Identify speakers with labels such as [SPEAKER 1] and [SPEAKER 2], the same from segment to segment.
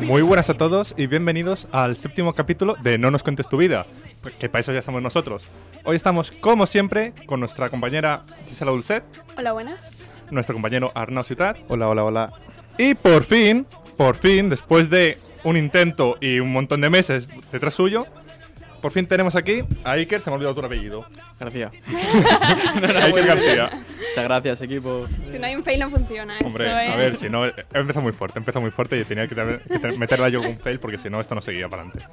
[SPEAKER 1] Muy buenas a todos y bienvenidos al séptimo capítulo de No nos cuentes tu vida, que para eso ya estamos nosotros. Hoy estamos, como siempre, con nuestra compañera Gisela Dulcet,
[SPEAKER 2] Hola, buenas.
[SPEAKER 1] nuestro compañero Arnau Ciutat,
[SPEAKER 3] Hola, hola, hola.
[SPEAKER 1] y por fin, por fin, después de un intento y un montón de meses detrás suyo, por fin tenemos aquí a Iker, se me ha olvidado tu apellido.
[SPEAKER 4] Gracias.
[SPEAKER 1] Iker García.
[SPEAKER 4] Muchas gracias, equipo.
[SPEAKER 2] Si no hay un fail no funciona.
[SPEAKER 1] Hombre,
[SPEAKER 2] esto, ¿eh?
[SPEAKER 1] a ver, si no, empezó muy fuerte, empezó muy fuerte y tenía que, tener- que te- meterla yo con un fail porque si no, esto no seguía para adelante.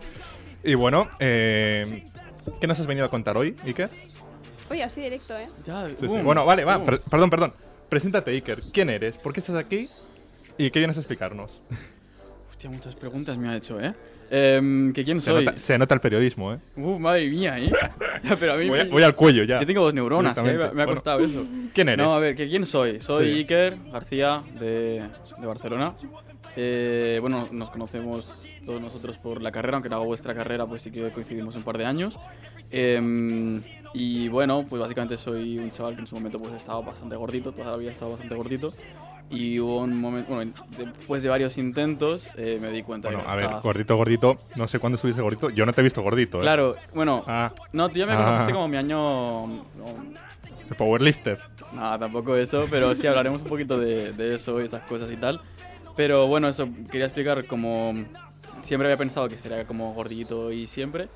[SPEAKER 1] Y bueno, eh, ¿qué nos has venido a contar hoy, Iker?
[SPEAKER 2] Uy, así directo, ¿eh?
[SPEAKER 4] Ya,
[SPEAKER 1] Sí, sí.
[SPEAKER 4] um,
[SPEAKER 1] Bueno, vale, va,
[SPEAKER 4] um.
[SPEAKER 1] per- perdón, perdón. Preséntate, Iker. ¿Quién eres? ¿Por qué estás aquí? ¿Y qué vienes a explicarnos?
[SPEAKER 4] Hostia, muchas preguntas me ha hecho, ¿eh? Em, ¿Que quién
[SPEAKER 1] Se
[SPEAKER 4] soy?
[SPEAKER 1] nota, se nota el periodismo, ¿eh?
[SPEAKER 4] Uf, madre mía, ¿eh? Ya, pero a mí
[SPEAKER 1] Voy,
[SPEAKER 4] me-
[SPEAKER 1] a- voy al cuello ya.
[SPEAKER 4] Yo tengo dos neuronas, ¿eh? Me
[SPEAKER 1] Directamente.
[SPEAKER 4] me ha
[SPEAKER 1] Bueno,
[SPEAKER 4] costado eso.
[SPEAKER 1] ¿Quién eres?
[SPEAKER 4] No, a ver, ¿que quién soy? Soy
[SPEAKER 1] Sí.
[SPEAKER 4] Iker García, de, de Barcelona. Eh, bueno, nos conocemos todos nosotros por la carrera, aunque no hago vuestra carrera, pues sí que coincidimos un par de años. Em, y bueno, pues básicamente soy un chaval que en su momento pues estaba bastante gordito, todavía estaba bastante gordito. Y hubo un momento, bueno, después de varios intentos eh, me di cuenta
[SPEAKER 1] Bueno,
[SPEAKER 4] que no
[SPEAKER 1] a ver,
[SPEAKER 4] estaba-
[SPEAKER 1] gordito, gordito. No sé cuándo estuviste gordito. Yo no te he visto gordito, ¿eh?
[SPEAKER 4] Claro, bueno,
[SPEAKER 1] Ah,
[SPEAKER 4] no, tú ya me
[SPEAKER 1] Ah.
[SPEAKER 4] conociste como mi año no,
[SPEAKER 1] el powerlifter.
[SPEAKER 4] Nada, tampoco eso, pero sí hablaremos un poquito de, de eso y esas cosas y tal. Pero bueno, eso quería explicar como siempre había pensado que sería como gordito y siempre,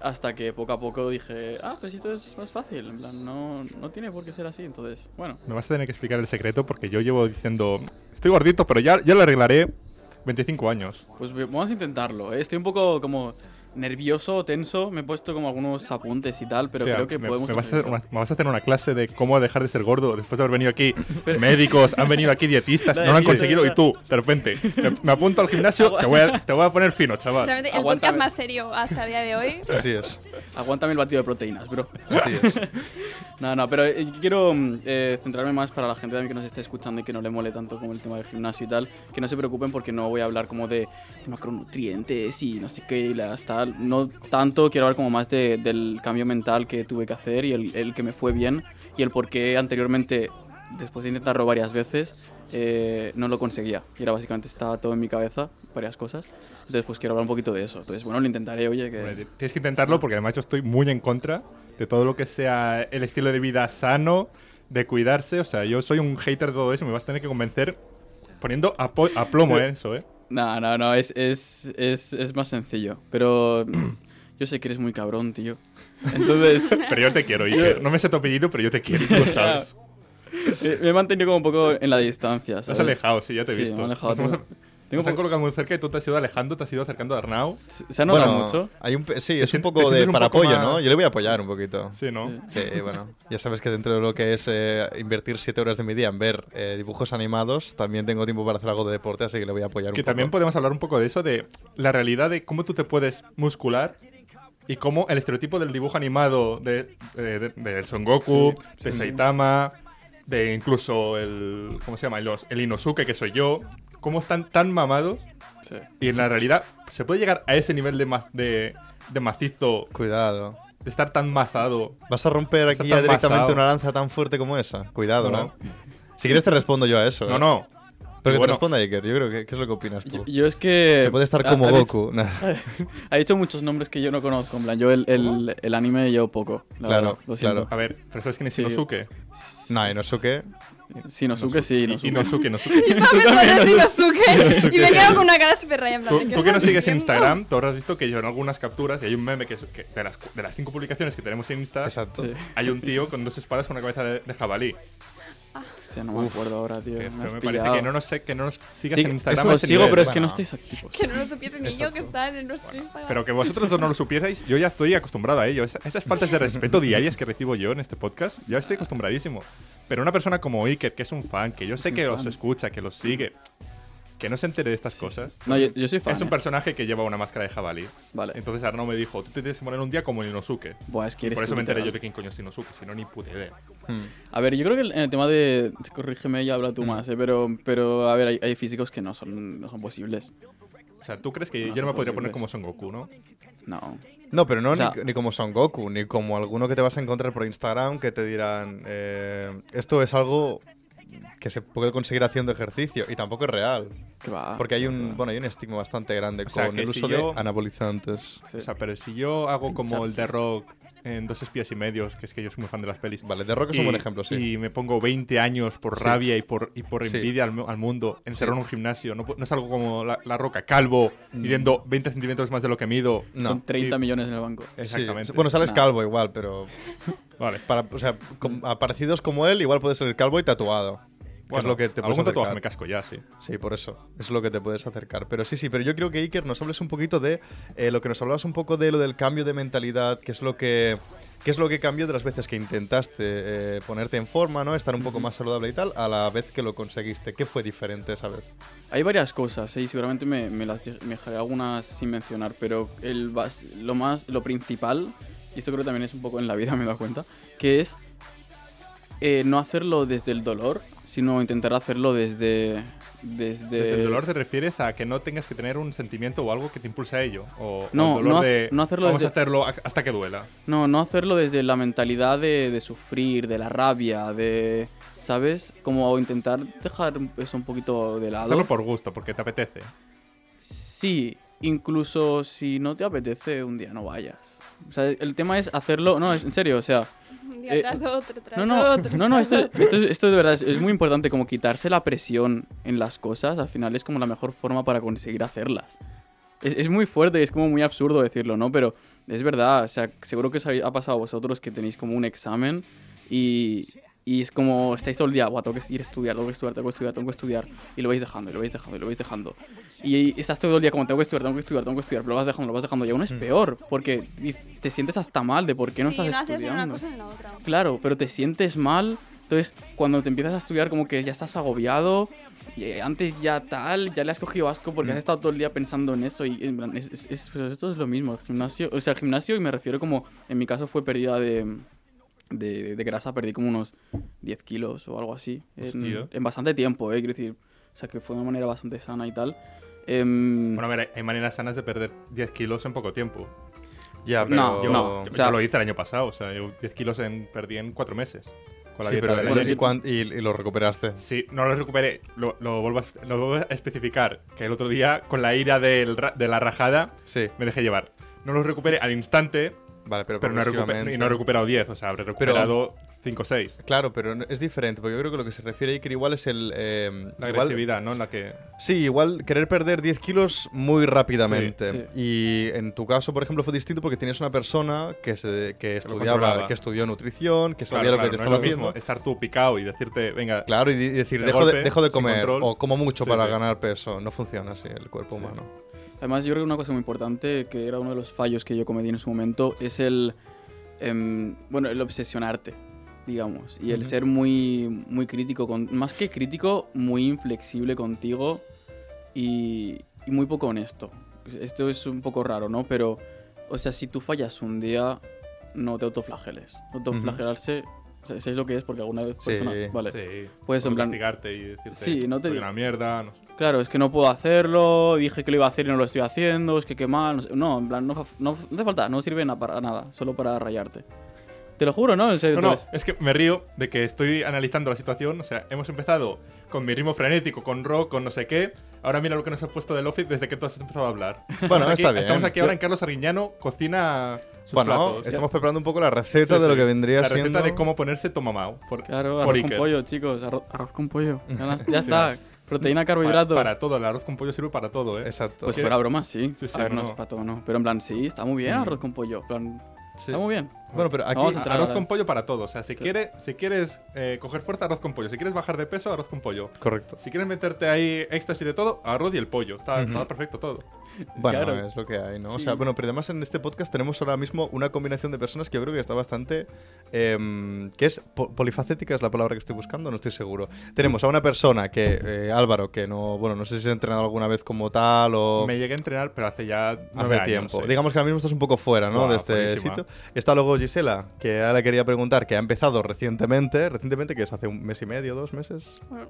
[SPEAKER 4] hasta que poco a poco dije, ah, pues esto es más fácil, en plan, no, no tiene por qué ser así, entonces, bueno.
[SPEAKER 1] Me vas a tener que explicar el secreto porque yo llevo diciendo... Estoy gordito, pero ya, ya lo arreglaré 25 años.
[SPEAKER 4] Pues ve- vamos a intentarlo. eh. Estoy un poco como nervioso, tenso. Me he puesto como algunos apuntes y tal, pero
[SPEAKER 1] Hostia,
[SPEAKER 4] creo que
[SPEAKER 1] me,
[SPEAKER 4] podemos.
[SPEAKER 1] me vas a hacer
[SPEAKER 4] conseguirlo.
[SPEAKER 1] una, me vas a hacer una clase de cómo dejar de ser gordo después de haber venido aquí médicos, han venido aquí dietistas,
[SPEAKER 4] La Ah,
[SPEAKER 1] no lo han
[SPEAKER 4] dieta,
[SPEAKER 1] conseguido y
[SPEAKER 4] ¿verdad?
[SPEAKER 1] tú, de repente, te- me apunto al gimnasio, te voy a, te voy a poner fino, chaval.
[SPEAKER 2] Sinceramente, el
[SPEAKER 4] aguántame.
[SPEAKER 2] podcast más serio hasta el día de hoy.
[SPEAKER 3] Así es.
[SPEAKER 4] Aguántame el batido de proteínas, bro.
[SPEAKER 3] Así es.
[SPEAKER 4] No, no, pero eh, quiero mm, eh, centrarme más para la gente también que nos esté escuchando y que no le mole tanto como el tema del gimnasio y tal, que no se preocupen porque no voy a hablar como de, de macronutrientes y no sé qué y las tal, no tanto, quiero hablar como más de- del cambio mental que tuve que hacer y el, el que me fue bien y el por qué anteriormente, después de intentarlo varias veces, eh, no lo conseguía. Y era básicamente estaba todo en mi cabeza, varias cosas, entonces pues quiero hablar un poquito de eso. Entonces bueno, lo intentaré, oye, que...
[SPEAKER 1] Hombre, Tienes que intentarlo porque además yo estoy muy en contra de todo lo que sea el estilo de vida sano, de cuidarse, o sea, yo soy un hater de todo eso, me vas a tener que convencer poniendo a, po- a plomo eh, eso, ¿eh?
[SPEAKER 4] No, no, no, es, es, es, es más sencillo. Pero yo sé que eres muy cabrón, tío. Entonces,
[SPEAKER 1] Pero yo te quiero, Iker. No me sé tu apellido, pero yo te quiero, tú lo sabes.
[SPEAKER 4] eh, me he mantenido como un poco en la distancia,
[SPEAKER 1] Te has
[SPEAKER 4] ¿sabes?
[SPEAKER 1] alejado, sí, ya te he
[SPEAKER 4] Sí,
[SPEAKER 1] visto.
[SPEAKER 4] me he alejado,
[SPEAKER 1] Nos hemos-
[SPEAKER 4] tengo- tengo
[SPEAKER 1] nos han
[SPEAKER 4] po-
[SPEAKER 1] colocado muy cerca y tú te has ido alejando, te has ido acercando a Arnau.
[SPEAKER 4] ¿Se se ha notado mucho?
[SPEAKER 3] Hay un, pe- sí,
[SPEAKER 1] Te
[SPEAKER 3] es un
[SPEAKER 1] sien- te
[SPEAKER 3] poco
[SPEAKER 1] sientes
[SPEAKER 3] de
[SPEAKER 1] un
[SPEAKER 3] para
[SPEAKER 1] poco
[SPEAKER 3] apoyo,
[SPEAKER 1] más-
[SPEAKER 3] ¿no? Yo le voy a apoyar un poquito.
[SPEAKER 1] Sí, ¿no?
[SPEAKER 4] Sí.
[SPEAKER 3] Sí, bueno. Ya sabes que dentro de lo que es eh, invertir 7 horas de mi día en ver eh, dibujos animados, también tengo tiempo para hacer algo de deporte, así que le voy a apoyar
[SPEAKER 1] Que
[SPEAKER 3] un poco.
[SPEAKER 1] también podemos hablar un poco de eso, de la realidad de cómo tú te puedes muscular y cómo el estereotipo del dibujo animado de, eh, de, de Son Goku,
[SPEAKER 4] Sí,
[SPEAKER 1] de
[SPEAKER 4] sí.
[SPEAKER 1] Saitama, de incluso el. ¿Cómo se llama? El, os- el Inosuke, que soy yo. Cómo están tan mamados
[SPEAKER 4] Sí.
[SPEAKER 1] y en la realidad se puede llegar a ese nivel de, ma- de, de macizo,
[SPEAKER 3] Cuidado.
[SPEAKER 1] de estar tan mazado.
[SPEAKER 3] ¿Vas a romper
[SPEAKER 1] Está
[SPEAKER 3] aquí ya
[SPEAKER 1] tan
[SPEAKER 3] directamente
[SPEAKER 1] basado.
[SPEAKER 3] una lanza tan fuerte como esa? Cuidado,
[SPEAKER 1] No.
[SPEAKER 3] ¿no? Si quieres te respondo yo a eso.
[SPEAKER 1] No,
[SPEAKER 3] ¿eh?
[SPEAKER 1] no.
[SPEAKER 3] Pero que
[SPEAKER 1] Bueno.
[SPEAKER 3] te responda Iker, yo creo que ¿qué es lo que opinas tú.
[SPEAKER 4] Yo, eh, yo es que...
[SPEAKER 3] Se puede estar
[SPEAKER 4] ha-
[SPEAKER 3] como
[SPEAKER 4] ha dicho-
[SPEAKER 3] Goku.
[SPEAKER 4] ha dicho muchos nombres que yo no conozco. En plan, yo el, el, el anime yo poco. la
[SPEAKER 3] Claro,
[SPEAKER 4] verdad, lo siento.
[SPEAKER 1] A ver, pero ¿sabes quién es
[SPEAKER 4] Sí.
[SPEAKER 1] Inosuke?
[SPEAKER 3] no, y no sé qué.
[SPEAKER 4] Sí, Inosuke, sí,
[SPEAKER 1] Inosuke,
[SPEAKER 4] Inosuke.
[SPEAKER 1] Inosuke.
[SPEAKER 2] No me suena Shinosuke. Y me
[SPEAKER 1] sí.
[SPEAKER 2] quedo con una cara súper raya. en plan,
[SPEAKER 1] Tú,
[SPEAKER 2] ¿de qué
[SPEAKER 1] tú que no
[SPEAKER 2] estás
[SPEAKER 1] sigues
[SPEAKER 2] diciendo?
[SPEAKER 1] Instagram, tú habrás visto que yo en algunas capturas, y hay un meme que, es- que de, las, cu- de las cinco publicaciones que tenemos en Insta,
[SPEAKER 3] Exacto.
[SPEAKER 4] Sí.
[SPEAKER 1] hay un tío con dos espadas con una cabeza de, de jabalí.
[SPEAKER 4] Hostia, no me acuerdo ahora, tío.
[SPEAKER 1] Pero
[SPEAKER 4] me has
[SPEAKER 1] me parece
[SPEAKER 4] pillado.
[SPEAKER 1] que no nos, sé- que no nos sigas
[SPEAKER 4] Sí,
[SPEAKER 1] en Instagram. a
[SPEAKER 4] os
[SPEAKER 1] ese
[SPEAKER 4] sigo,
[SPEAKER 1] nivel.
[SPEAKER 4] pero es que no
[SPEAKER 3] Bueno.
[SPEAKER 4] estáis activos.
[SPEAKER 2] Que no lo supiese ni yo que están en nuestro Instagram.
[SPEAKER 1] Pero que vosotros dos no lo supierais, yo ya estoy acostumbrado a ello. Esa- esas faltas de respeto diarias que recibo yo en este podcast, ya estoy acostumbradísimo. Pero una persona como Iker, que es un fan, que yo sé
[SPEAKER 4] un
[SPEAKER 1] que
[SPEAKER 4] fan.
[SPEAKER 1] los escucha, que los sigue, que no se entere de estas cosas.
[SPEAKER 4] No, yo, yo soy fan.
[SPEAKER 1] Es un
[SPEAKER 4] eh.
[SPEAKER 1] personaje que lleva una máscara de jabalí.
[SPEAKER 4] Vale.
[SPEAKER 1] Entonces Arno me dijo, tú te tienes que poner un día como el Inosuke.
[SPEAKER 4] Buah, es
[SPEAKER 1] Y
[SPEAKER 4] que eres
[SPEAKER 1] eh, por eso
[SPEAKER 4] tú,
[SPEAKER 1] me enteré yo
[SPEAKER 4] literal.
[SPEAKER 1] de quién coño es Inosuke, si no ni puta idea.
[SPEAKER 3] Hmm.
[SPEAKER 4] A ver, yo creo que en el tema de. Corrígeme y habla tú más, eh, pero, pero a ver, hay, hay físicos que no son, no son posibles.
[SPEAKER 1] O sea, tú crees que
[SPEAKER 4] No
[SPEAKER 1] yo no me
[SPEAKER 4] son
[SPEAKER 1] podría poner como
[SPEAKER 4] posibles.
[SPEAKER 1] Son Goku, ¿no?
[SPEAKER 4] No.
[SPEAKER 3] No, pero no
[SPEAKER 4] O sea-
[SPEAKER 3] ni, ni como Son Goku, ni como alguno que te vas a encontrar por Instagram que te dirán, eh, esto es algo que se puede conseguir haciendo ejercicio y tampoco es real.
[SPEAKER 4] Que va.
[SPEAKER 3] Porque hay un,
[SPEAKER 4] que va.
[SPEAKER 3] bueno, hay un estigma bastante grande
[SPEAKER 1] O sea,
[SPEAKER 3] con
[SPEAKER 1] que
[SPEAKER 3] el
[SPEAKER 1] si
[SPEAKER 3] uso
[SPEAKER 1] yo-
[SPEAKER 3] de anabolizantes.
[SPEAKER 4] Sí.
[SPEAKER 1] O sea, pero si yo hago como el
[SPEAKER 4] Pincharse.
[SPEAKER 1] The Rock en Dos espías y medios, que es que yo soy muy fan de las pelis.
[SPEAKER 3] Vale, The Rock es un
[SPEAKER 1] y-
[SPEAKER 3] buen ejemplo, sí.
[SPEAKER 1] Y me pongo 20 años por
[SPEAKER 3] Sí.
[SPEAKER 1] rabia y por, y por
[SPEAKER 3] Sí.
[SPEAKER 1] envidia al, mu- al mundo, encerrado
[SPEAKER 3] Sí.
[SPEAKER 1] en un gimnasio. No, pu- no es algo como la, la roca, calvo,
[SPEAKER 3] Mm.
[SPEAKER 1] midiendo 20 centímetros más de lo que mido.
[SPEAKER 4] Con
[SPEAKER 3] No.
[SPEAKER 4] 30
[SPEAKER 1] Y-
[SPEAKER 4] millones en el banco.
[SPEAKER 3] Mm. sí.
[SPEAKER 1] Exactamente.
[SPEAKER 3] Bueno, sales
[SPEAKER 4] No.
[SPEAKER 3] calvo igual, pero
[SPEAKER 1] vale.
[SPEAKER 3] para, o sea, com- a parecidos como él, igual puedes ser calvo y tatuado. que es
[SPEAKER 1] Bueno,
[SPEAKER 3] lo que te puedes
[SPEAKER 1] algún tatuaje
[SPEAKER 3] acercar.
[SPEAKER 1] me casco ya, sí.
[SPEAKER 3] Sí, por eso. Es lo que te puedes acercar. Pero sí, sí, pero yo creo que Iker nos hables un poquito de eh, lo que nos hablabas un poco de lo del cambio de mentalidad, que es lo que, que es lo que cambió de las veces que intentaste eh, ponerte en forma, ¿no? Estar un poco más saludable y tal, a la vez que lo conseguiste. ¿Qué fue diferente esa vez?
[SPEAKER 4] Hay varias cosas, ¿eh? y seguramente me, me las dej- me dejaré algunas sin mencionar, pero el, bas- lo más, lo principal, y esto creo que también es un poco en la vida, me he dado cuenta, que es eh, no hacerlo desde el dolor, sino intentar hacerlo desde... Desde,
[SPEAKER 1] Desde el dolor te refieres a que no tengas que tener un sentimiento o algo que te impulse a ello. O o el
[SPEAKER 4] No,
[SPEAKER 1] dolor
[SPEAKER 4] no ha-
[SPEAKER 1] de
[SPEAKER 4] no hacerlo
[SPEAKER 1] vamos a
[SPEAKER 4] desde-
[SPEAKER 1] hacerlo a- hasta que duela.
[SPEAKER 4] No, no hacerlo desde la mentalidad de, de sufrir, de la rabia, de... ¿Sabes? Como intentar dejar eso un poquito de lado.
[SPEAKER 1] Hacerlo por gusto, porque te apetece.
[SPEAKER 3] Mm.
[SPEAKER 4] Sí, incluso si no te apetece, un día no vayas. O sea, el tema es hacerlo... No, es- en serio, o sea...
[SPEAKER 2] Un día
[SPEAKER 4] Eh,
[SPEAKER 2] tras otro, tras
[SPEAKER 4] No, no,
[SPEAKER 2] otro.
[SPEAKER 4] no, no,
[SPEAKER 2] tras
[SPEAKER 4] esto,
[SPEAKER 2] otro.
[SPEAKER 4] esto, es- esto de verdad es, es muy importante, como quitarse la presión en las cosas, al final es como la mejor forma para conseguir hacerlas. Es, es muy fuerte y es como muy absurdo decirlo, ¿no? Pero es verdad, o sea, seguro que os habéis- ha pasado a vosotros que tenéis como un examen y, y es como estáis todo el día, "Buah, tengo que ir a estudiar, tengo que estudiar, tengo que estudiar, tengo que estudiar, y lo vais dejando, y lo vais dejando, y lo vais dejando. Y estás todo el día como, tengo que estudiar, tengo que estudiar, tengo que estudiar, pero lo vas dejando, lo vas dejando, y aún es peor, porque dic- te sientes hasta mal de por qué no
[SPEAKER 2] Sí,
[SPEAKER 4] estás
[SPEAKER 2] no haces ni
[SPEAKER 4] estudiando.
[SPEAKER 2] una cosa ni la otra.
[SPEAKER 4] Claro, pero te sientes mal. Entonces, cuando te empiezas a estudiar, como que ya estás agobiado. Y eh, antes ya tal, ya le has cogido asco porque has estado todo el día pensando en eso. Y en plan, es- es- es- pues esto es lo mismo. El gimnasio, o sea, el gimnasio, y me refiero como, en mi caso fue pérdida de, de, de grasa, perdí como unos 10 kilos o algo así. En,
[SPEAKER 1] Hostia.
[SPEAKER 4] en bastante tiempo, ¿eh? Quiero decir, o sea, que fue de una manera bastante sana y tal. Em,
[SPEAKER 1] Bueno, a ver, hay maneras sanas de perder 10 kilos en poco tiempo.
[SPEAKER 3] Ya,
[SPEAKER 4] No,
[SPEAKER 3] pero...
[SPEAKER 1] Yo,
[SPEAKER 4] no.
[SPEAKER 1] yo-
[SPEAKER 4] o sea-
[SPEAKER 1] yo lo hice el año pasado, o sea, yo 10 kilos en- perdí en 4 meses. Con la
[SPEAKER 3] Sí,
[SPEAKER 1] dieta
[SPEAKER 3] pero
[SPEAKER 1] del
[SPEAKER 4] Bueno,
[SPEAKER 1] año.
[SPEAKER 3] y, cuan- y- y lo recuperaste.
[SPEAKER 1] Sí, no lo recuperé, lo, lo vuelvo a, lo vuelvo a especificar, que el otro día, con la ira del ra- de la rajada,
[SPEAKER 3] Sí,
[SPEAKER 1] me dejé llevar. No lo recuperé al instante,
[SPEAKER 3] vale, pero,
[SPEAKER 1] pero no he, recupe-
[SPEAKER 3] progresivamente.
[SPEAKER 1] y no he recuperado 10, o sea, habré recuperado 5 o 6.
[SPEAKER 3] Claro, pero no- es diferente, porque yo creo que lo que se refiere Iker igual es el... eh,
[SPEAKER 1] La
[SPEAKER 3] igual-
[SPEAKER 1] agresividad, ¿no? En la que...
[SPEAKER 3] Sí, igual querer perder 10 kilos muy rápidamente.
[SPEAKER 4] Sí,
[SPEAKER 3] Y en tu caso, por ejemplo, fue distinto porque tienes una persona que, se, que
[SPEAKER 1] controlaba.
[SPEAKER 3] estudiaba, que estudió nutrición, que sabía
[SPEAKER 1] Claro,
[SPEAKER 3] lo que
[SPEAKER 1] claro,
[SPEAKER 3] te
[SPEAKER 1] no es
[SPEAKER 3] estaba
[SPEAKER 1] lo mismo
[SPEAKER 3] haciendo.
[SPEAKER 1] estar tú picado y decirte, venga,
[SPEAKER 3] Claro, y di- y decir,
[SPEAKER 1] De
[SPEAKER 3] dejo,
[SPEAKER 1] golpe,
[SPEAKER 3] de, dejo de
[SPEAKER 1] sin
[SPEAKER 3] comer
[SPEAKER 1] control.
[SPEAKER 3] o como mucho
[SPEAKER 1] Sí,
[SPEAKER 3] para
[SPEAKER 1] sí.
[SPEAKER 3] ganar peso. No funciona así el cuerpo
[SPEAKER 4] Sí.
[SPEAKER 3] humano.
[SPEAKER 4] Además, yo creo que una cosa muy importante, que era uno de los fallos que yo cometí en su momento, es el, em, bueno, el obsesionarte, digamos, y el ser muy, muy crítico, con, más que crítico, muy inflexible contigo y, y muy poco honesto. Esto es un poco raro, ¿no? Pero, o sea, si tú fallas un día, no te autoflageles. Autoflagelarse, o sea, ¿sabéis lo que es? Porque alguna vez
[SPEAKER 3] Sí.
[SPEAKER 4] persona... Vale.
[SPEAKER 1] sí,
[SPEAKER 4] Pues,
[SPEAKER 1] o
[SPEAKER 4] en plan-
[SPEAKER 1] castigarte y decirte,
[SPEAKER 4] Sí, no te
[SPEAKER 1] soy
[SPEAKER 4] digo-
[SPEAKER 1] una mierda, no sé.
[SPEAKER 4] Claro, es que no puedo hacerlo, dije que lo iba a hacer y no lo estoy haciendo, es que qué mal. No, sé- no, en plan, no, fa- no hace falta, no sirve na- para nada, solo para rayarte. Te lo juro, ¿no? En serio,
[SPEAKER 1] No, no,
[SPEAKER 4] entonces-
[SPEAKER 1] es que me río de que estoy analizando la situación. O sea, hemos empezado con mi ritmo frenético, con rock, con no sé qué. Ahora mira lo que nos has puesto del office desde que tú has empezado a hablar. Estamos aquí-
[SPEAKER 3] está bien.
[SPEAKER 1] Estamos aquí ahora en Carlos Arguiñano, cocina sus
[SPEAKER 3] bueno,
[SPEAKER 1] platos.
[SPEAKER 3] estamos preparando un poco la receta
[SPEAKER 1] Sí,
[SPEAKER 3] de lo
[SPEAKER 1] sí.
[SPEAKER 3] que vendría
[SPEAKER 1] La
[SPEAKER 3] siendo.
[SPEAKER 1] receta de cómo ponerse tomamao. Por,
[SPEAKER 4] Claro,
[SPEAKER 1] por
[SPEAKER 4] arroz con
[SPEAKER 1] Iker.
[SPEAKER 4] pollo, chicos, arro- arroz con pollo. Ya, la- ya está, proteína,
[SPEAKER 1] Pa- Para,
[SPEAKER 4] carbohidrato.
[SPEAKER 1] todo, el arroz con pollo sirve para todo, ¿eh?
[SPEAKER 3] Exacto.
[SPEAKER 4] pues
[SPEAKER 1] ¿Qué?
[SPEAKER 4] fuera broma, sí.
[SPEAKER 1] Sí, sí,
[SPEAKER 4] a ver,
[SPEAKER 1] no, Mm.
[SPEAKER 4] no, es
[SPEAKER 1] no.
[SPEAKER 4] para todo, no. Pero en plan, sí, está muy bien arroz con pollo. en plan,
[SPEAKER 3] Sí.
[SPEAKER 4] Está muy bien.
[SPEAKER 3] Bueno, pero aquí.
[SPEAKER 4] Vamos a entrar
[SPEAKER 1] Arroz
[SPEAKER 4] ahora.
[SPEAKER 1] con pollo para todos. O sea, si, quiere- si quieres eh, coger fuerza, arroz con pollo. Si quieres bajar de peso, arroz con pollo.
[SPEAKER 3] Correcto.
[SPEAKER 1] Si quieres meterte ahí éxtasis de todo, arroz y el pollo. Está, está perfecto todo.
[SPEAKER 3] Bueno,
[SPEAKER 4] Claro.
[SPEAKER 3] es lo que hay, ¿no? O
[SPEAKER 4] Sí.
[SPEAKER 3] sea, bueno, pero además en este podcast tenemos ahora mismo una combinación de personas que yo creo que está bastante. em, que es po- polifacética, es la palabra que estoy buscando, no estoy seguro. Tenemos a una persona que, eh, Álvaro, que no. Bueno, no sé si se ha entrenado alguna vez como tal o.
[SPEAKER 1] Me llegué a entrenar, pero hace ya nueve
[SPEAKER 3] Hace
[SPEAKER 1] años,
[SPEAKER 3] tiempo.
[SPEAKER 1] sí.
[SPEAKER 3] Digamos que ahora mismo estás un poco fuera, ¿no?
[SPEAKER 1] Guau,
[SPEAKER 3] de este
[SPEAKER 1] buenísima.
[SPEAKER 3] sitio. Está luego Gisela, que ahora le quería preguntar, que ha empezado recientemente, recientemente, que es hace un mes y medio, dos meses.
[SPEAKER 2] Bueno,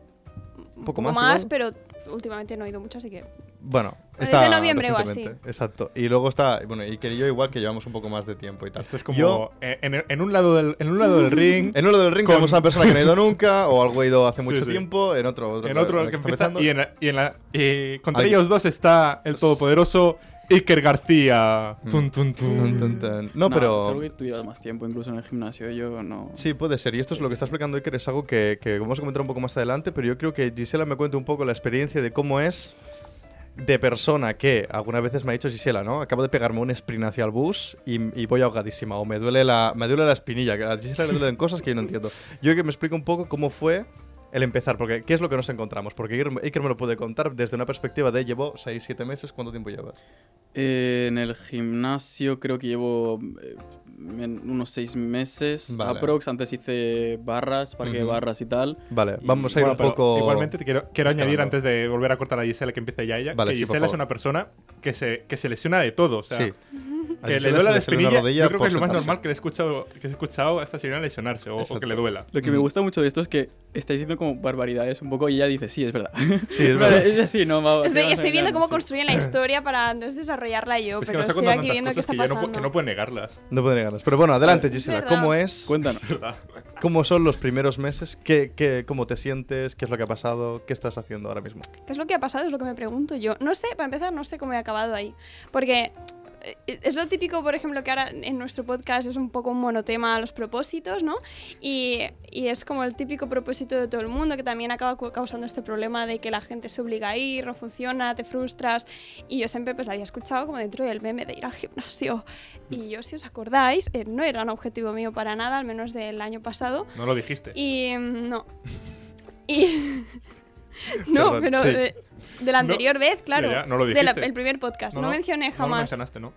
[SPEAKER 2] un
[SPEAKER 3] poco
[SPEAKER 2] poco
[SPEAKER 3] más,
[SPEAKER 2] más,
[SPEAKER 3] igual.
[SPEAKER 2] pero últimamente no he ido mucho, así que
[SPEAKER 1] Pues
[SPEAKER 3] Bueno,
[SPEAKER 2] Desde
[SPEAKER 3] está
[SPEAKER 2] noviembre o
[SPEAKER 3] recientemente. Exacto. Y luego está, bueno, y que yo igual que llevamos un poco más de tiempo y tal.
[SPEAKER 1] Esto es como
[SPEAKER 3] Yo,
[SPEAKER 1] eh, en, en un lado del, en un lado del ring,
[SPEAKER 3] en uno del ring tenemos a una persona que no ha ido nunca, o algo ha ido hace
[SPEAKER 1] Sí,
[SPEAKER 3] mucho
[SPEAKER 1] sí.
[SPEAKER 3] tiempo, en otro, otro
[SPEAKER 1] en otro
[SPEAKER 3] con el
[SPEAKER 1] el que
[SPEAKER 3] está
[SPEAKER 1] empieza,
[SPEAKER 3] empezando.
[SPEAKER 1] y en la, y en la- y contra
[SPEAKER 3] Alguien.
[SPEAKER 1] ellos dos está el todopoderoso Iker García. Tun, tun, tun.
[SPEAKER 3] Mm. Tun, tun, tun. No,
[SPEAKER 4] Nah,
[SPEAKER 3] pero...
[SPEAKER 4] seguro que tú llevas más tiempo, incluso en el gimnasio. Yo no.
[SPEAKER 3] Sí, puede ser. Y esto es lo que está explicando Iker, es algo que, que vamos a comentar un poco más adelante, pero yo creo que Gisela me cuente un poco la experiencia de cómo es de persona que algunas veces me ha dicho Gisela, ¿no? Acabo de pegarme un sprint hacia el bus y, y voy ahogadísima o me duele la me duele la espinilla, que a Gisela le duelen cosas que yo no entiendo. Yo creo que me explica un poco cómo fue el empezar, porque ¿qué es lo que nos encontramos? Porque Iker, Iker me lo puede contar desde una perspectiva de llevo 6, 7 meses, ¿cuánto tiempo llevas?
[SPEAKER 4] Eh, en el gimnasio creo que llevo eh, en unos seis meses
[SPEAKER 3] Vale.
[SPEAKER 4] aprox. Antes hice barras, parque de
[SPEAKER 3] Ujú.
[SPEAKER 4] barras y tal.
[SPEAKER 3] Vale,
[SPEAKER 4] Y-
[SPEAKER 3] vamos a ir
[SPEAKER 1] Bueno,
[SPEAKER 3] un
[SPEAKER 1] pero
[SPEAKER 3] poco...
[SPEAKER 1] Igualmente te quiero, quiero añadir
[SPEAKER 3] escalando.
[SPEAKER 1] antes de volver a cortar a Gisela que empiece ya ella,
[SPEAKER 3] Vale,
[SPEAKER 1] que
[SPEAKER 3] sí, por
[SPEAKER 1] Gisela es
[SPEAKER 3] favor.
[SPEAKER 1] una persona que se, que se lesiona de todo. O sea,
[SPEAKER 3] Sí. A
[SPEAKER 1] que le
[SPEAKER 3] Gisela
[SPEAKER 1] duela
[SPEAKER 3] se
[SPEAKER 1] la
[SPEAKER 3] lesionó una
[SPEAKER 1] espinilla, yo creo que
[SPEAKER 3] por
[SPEAKER 1] es lo más
[SPEAKER 3] sentarse.
[SPEAKER 1] normal que le he escuchado, que he escuchado a esta señora lesionarse o, o
[SPEAKER 3] Exacto.
[SPEAKER 1] que le duela.
[SPEAKER 4] Lo que me gusta mucho de esto es que estáis diciendo como barbaridades un poco y ella dice, sí, es verdad.
[SPEAKER 3] Sí, es
[SPEAKER 4] Vale,
[SPEAKER 3] verdad.
[SPEAKER 4] es así, no va-
[SPEAKER 2] Estoy,
[SPEAKER 4] sí, vamos a
[SPEAKER 2] estoy viendo
[SPEAKER 4] engañarnos,
[SPEAKER 2] cómo
[SPEAKER 4] sí.
[SPEAKER 2] construyen la historia para entonces desarrollarla yo,
[SPEAKER 1] Es que
[SPEAKER 2] pero
[SPEAKER 1] nos ha
[SPEAKER 2] estoy
[SPEAKER 1] contado
[SPEAKER 2] aquí
[SPEAKER 1] tantas
[SPEAKER 2] viendo qué
[SPEAKER 1] cosas
[SPEAKER 2] está
[SPEAKER 1] que, yo no, pu-
[SPEAKER 2] pasando.
[SPEAKER 1] que no puede negarlas.
[SPEAKER 3] No puede negarlas. Pero bueno, adelante, Gisela.
[SPEAKER 2] verdad.
[SPEAKER 3] ¿Cómo es?
[SPEAKER 4] Cuéntanos.
[SPEAKER 3] ¿Cómo son los primeros meses? ¿Qué, qué, ¿Cómo te sientes? ¿Qué es lo que ha pasado? ¿Qué estás haciendo ahora mismo?
[SPEAKER 2] ¿Qué es lo que ha pasado? Es lo que me pregunto yo. No sé, para empezar, no sé cómo he acabado ahí. Porque eh, es lo típico, por ejemplo, que ahora en nuestro podcast es un poco un monotema los propósitos, ¿no? Y, y es como el típico propósito de todo el mundo que también acaba cu- causando este problema de que la gente se obliga a ir, no funciona, te frustras. Y yo siempre pues lo había escuchado como dentro del meme de ir al gimnasio. Y yo, si os acordáis, eh, no era un objetivo mío para nada, al menos del año pasado.
[SPEAKER 1] No lo dijiste.
[SPEAKER 2] Y mm, no. Y. no,
[SPEAKER 3] Perdón,
[SPEAKER 2] pero
[SPEAKER 3] sí.
[SPEAKER 2] de, de la
[SPEAKER 1] No,
[SPEAKER 2] anterior vez, claro.
[SPEAKER 1] ya, ya, no lo
[SPEAKER 2] de la-
[SPEAKER 1] dijiste.
[SPEAKER 2] el primer podcast. No, mencioné
[SPEAKER 1] No lo
[SPEAKER 2] jamás. No,
[SPEAKER 1] mencionaste, ¿no?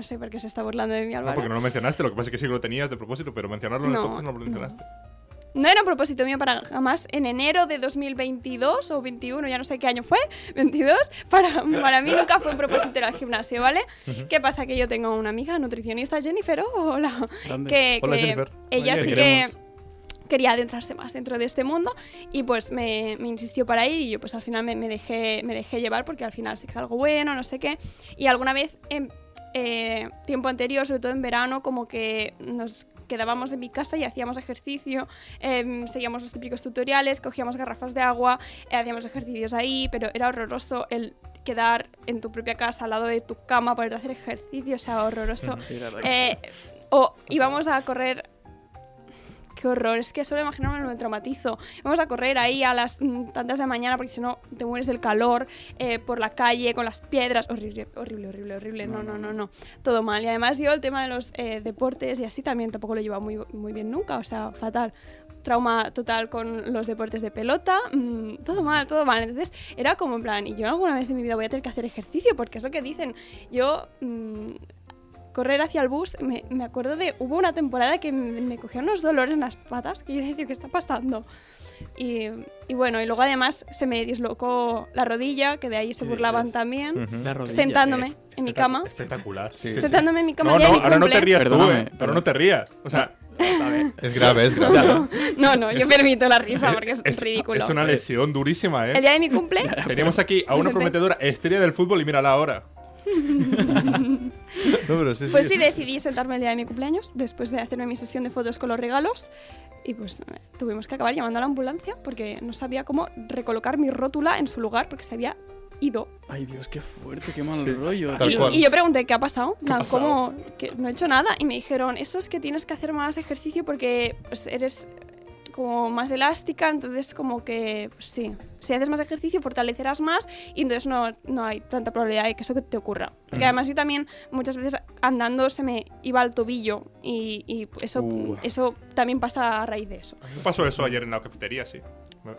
[SPEAKER 2] sé por qué se está burlando de mí,
[SPEAKER 1] No,
[SPEAKER 2] Álvaro.
[SPEAKER 1] porque no lo mencionaste. Lo que pasa es que sí que lo tenías de propósito, pero mencionarlo en el
[SPEAKER 2] No,
[SPEAKER 1] podcast no lo mencionaste.
[SPEAKER 2] No era un propósito mío para jamás en enero de 2022 o 21, ya no sé qué año fue, 22, para, para mí nunca fue un propósito ir al gimnasio, ¿vale? ¿Qué pasa? Que yo tengo una amiga nutricionista, Jennifer, hola,
[SPEAKER 4] Grande.
[SPEAKER 2] que,
[SPEAKER 3] Hola,
[SPEAKER 2] que
[SPEAKER 3] Jennifer.
[SPEAKER 2] ella
[SPEAKER 4] Oye,
[SPEAKER 2] sí
[SPEAKER 4] te
[SPEAKER 2] que
[SPEAKER 4] queremos.
[SPEAKER 2] quería adentrarse más dentro de este mundo y pues me, me insistió para ir y yo pues al final me, me dejé, me dejé llevar porque al final sí que es algo bueno, no sé qué. Y alguna vez, en eh, tiempo anterior, sobre todo en verano, como que nos quedábamos en mi casa y hacíamos ejercicio, em, seguíamos los típicos tutoriales, cogíamos garrafas de agua, eh, hacíamos ejercicios ahí, pero era horroroso el quedar en tu propia casa al lado de tu cama para hacer ejercicio, o sea, horroroso.
[SPEAKER 4] Sí, la verdad que
[SPEAKER 2] Eh, o íbamos a correr. Qué horror, es que solo imaginarme me traumatizo. Vamos a correr ahí a las mm, tantas de la mañana porque si no te mueres del calor eh, por la calle con las piedras. Horrible, horrible, horrible, horrible. No, no, no, no. Todo mal. Y además yo el tema de los eh, deportes y así también tampoco lo llevaba muy, muy bien nunca. O sea, fatal. Trauma total con los deportes de pelota. mm, todo mal, todo mal. Entonces era como en plan, y yo alguna vez en mi vida voy a tener que hacer ejercicio porque es lo que dicen. Yo mm, correr hacia el bus, me, me acuerdo de, hubo una temporada que me, me cogía unos dolores en las patas, que yo decía, ¿qué está pasando? Y, y bueno, y luego además se me dislocó la rodilla, que de ahí se
[SPEAKER 3] ¿Qué
[SPEAKER 2] burlaban
[SPEAKER 3] dices?
[SPEAKER 2] también,
[SPEAKER 4] La rodilla,
[SPEAKER 2] sentándome
[SPEAKER 4] eh.
[SPEAKER 2] en mi cama,
[SPEAKER 1] Espectacular.
[SPEAKER 3] Sí, sí.
[SPEAKER 2] sentándome en mi cama
[SPEAKER 1] No,
[SPEAKER 2] el día
[SPEAKER 1] no,
[SPEAKER 2] de mi
[SPEAKER 1] ahora no te
[SPEAKER 2] cumple.
[SPEAKER 1] rías tú,
[SPEAKER 4] Perdóname,
[SPEAKER 1] eh. Ahora
[SPEAKER 4] perdón.
[SPEAKER 1] no te rías. O sea,
[SPEAKER 3] Es grave, es grave.
[SPEAKER 2] No, no, yo permito la risa porque es,
[SPEAKER 1] es,
[SPEAKER 2] ridículo.
[SPEAKER 1] es una lesión durísima,
[SPEAKER 2] El
[SPEAKER 1] ¿eh?
[SPEAKER 2] día de mi cumple,
[SPEAKER 1] Teníamos aquí a una
[SPEAKER 2] Desempeño.
[SPEAKER 1] prometedora estrella del fútbol y mírala ahora.
[SPEAKER 3] No, pero sí, sí.
[SPEAKER 2] pues sí decidí sentarme el día de mi cumpleaños, después de hacerme mi sesión de fotos con los regalos, y pues eh, tuvimos que acabar llamando a la ambulancia porque no sabía cómo recolocar mi rótula en su lugar porque se había ido
[SPEAKER 4] Ay, Dios, qué fuerte, qué mal rollo.
[SPEAKER 3] Tal
[SPEAKER 2] y,
[SPEAKER 3] cual.
[SPEAKER 2] y yo pregunté, ¿qué ha pasado? En plan,
[SPEAKER 1] pasado?
[SPEAKER 2] ¿Cómo? Que no he hecho nada. Y me dijeron, eso es que tienes que hacer más ejercicio porque pues, eres como más elástica, entonces como que pues sí, si haces más ejercicio fortalecerás más y entonces no, no hay tanta probabilidad de que eso que te ocurra. Porque además yo también muchas veces andando se me iba al tobillo y, y eso,
[SPEAKER 4] Uh.
[SPEAKER 2] eso también pasa a raíz de eso.
[SPEAKER 1] ¿Qué pasó eso ayer en la cafetería, sí?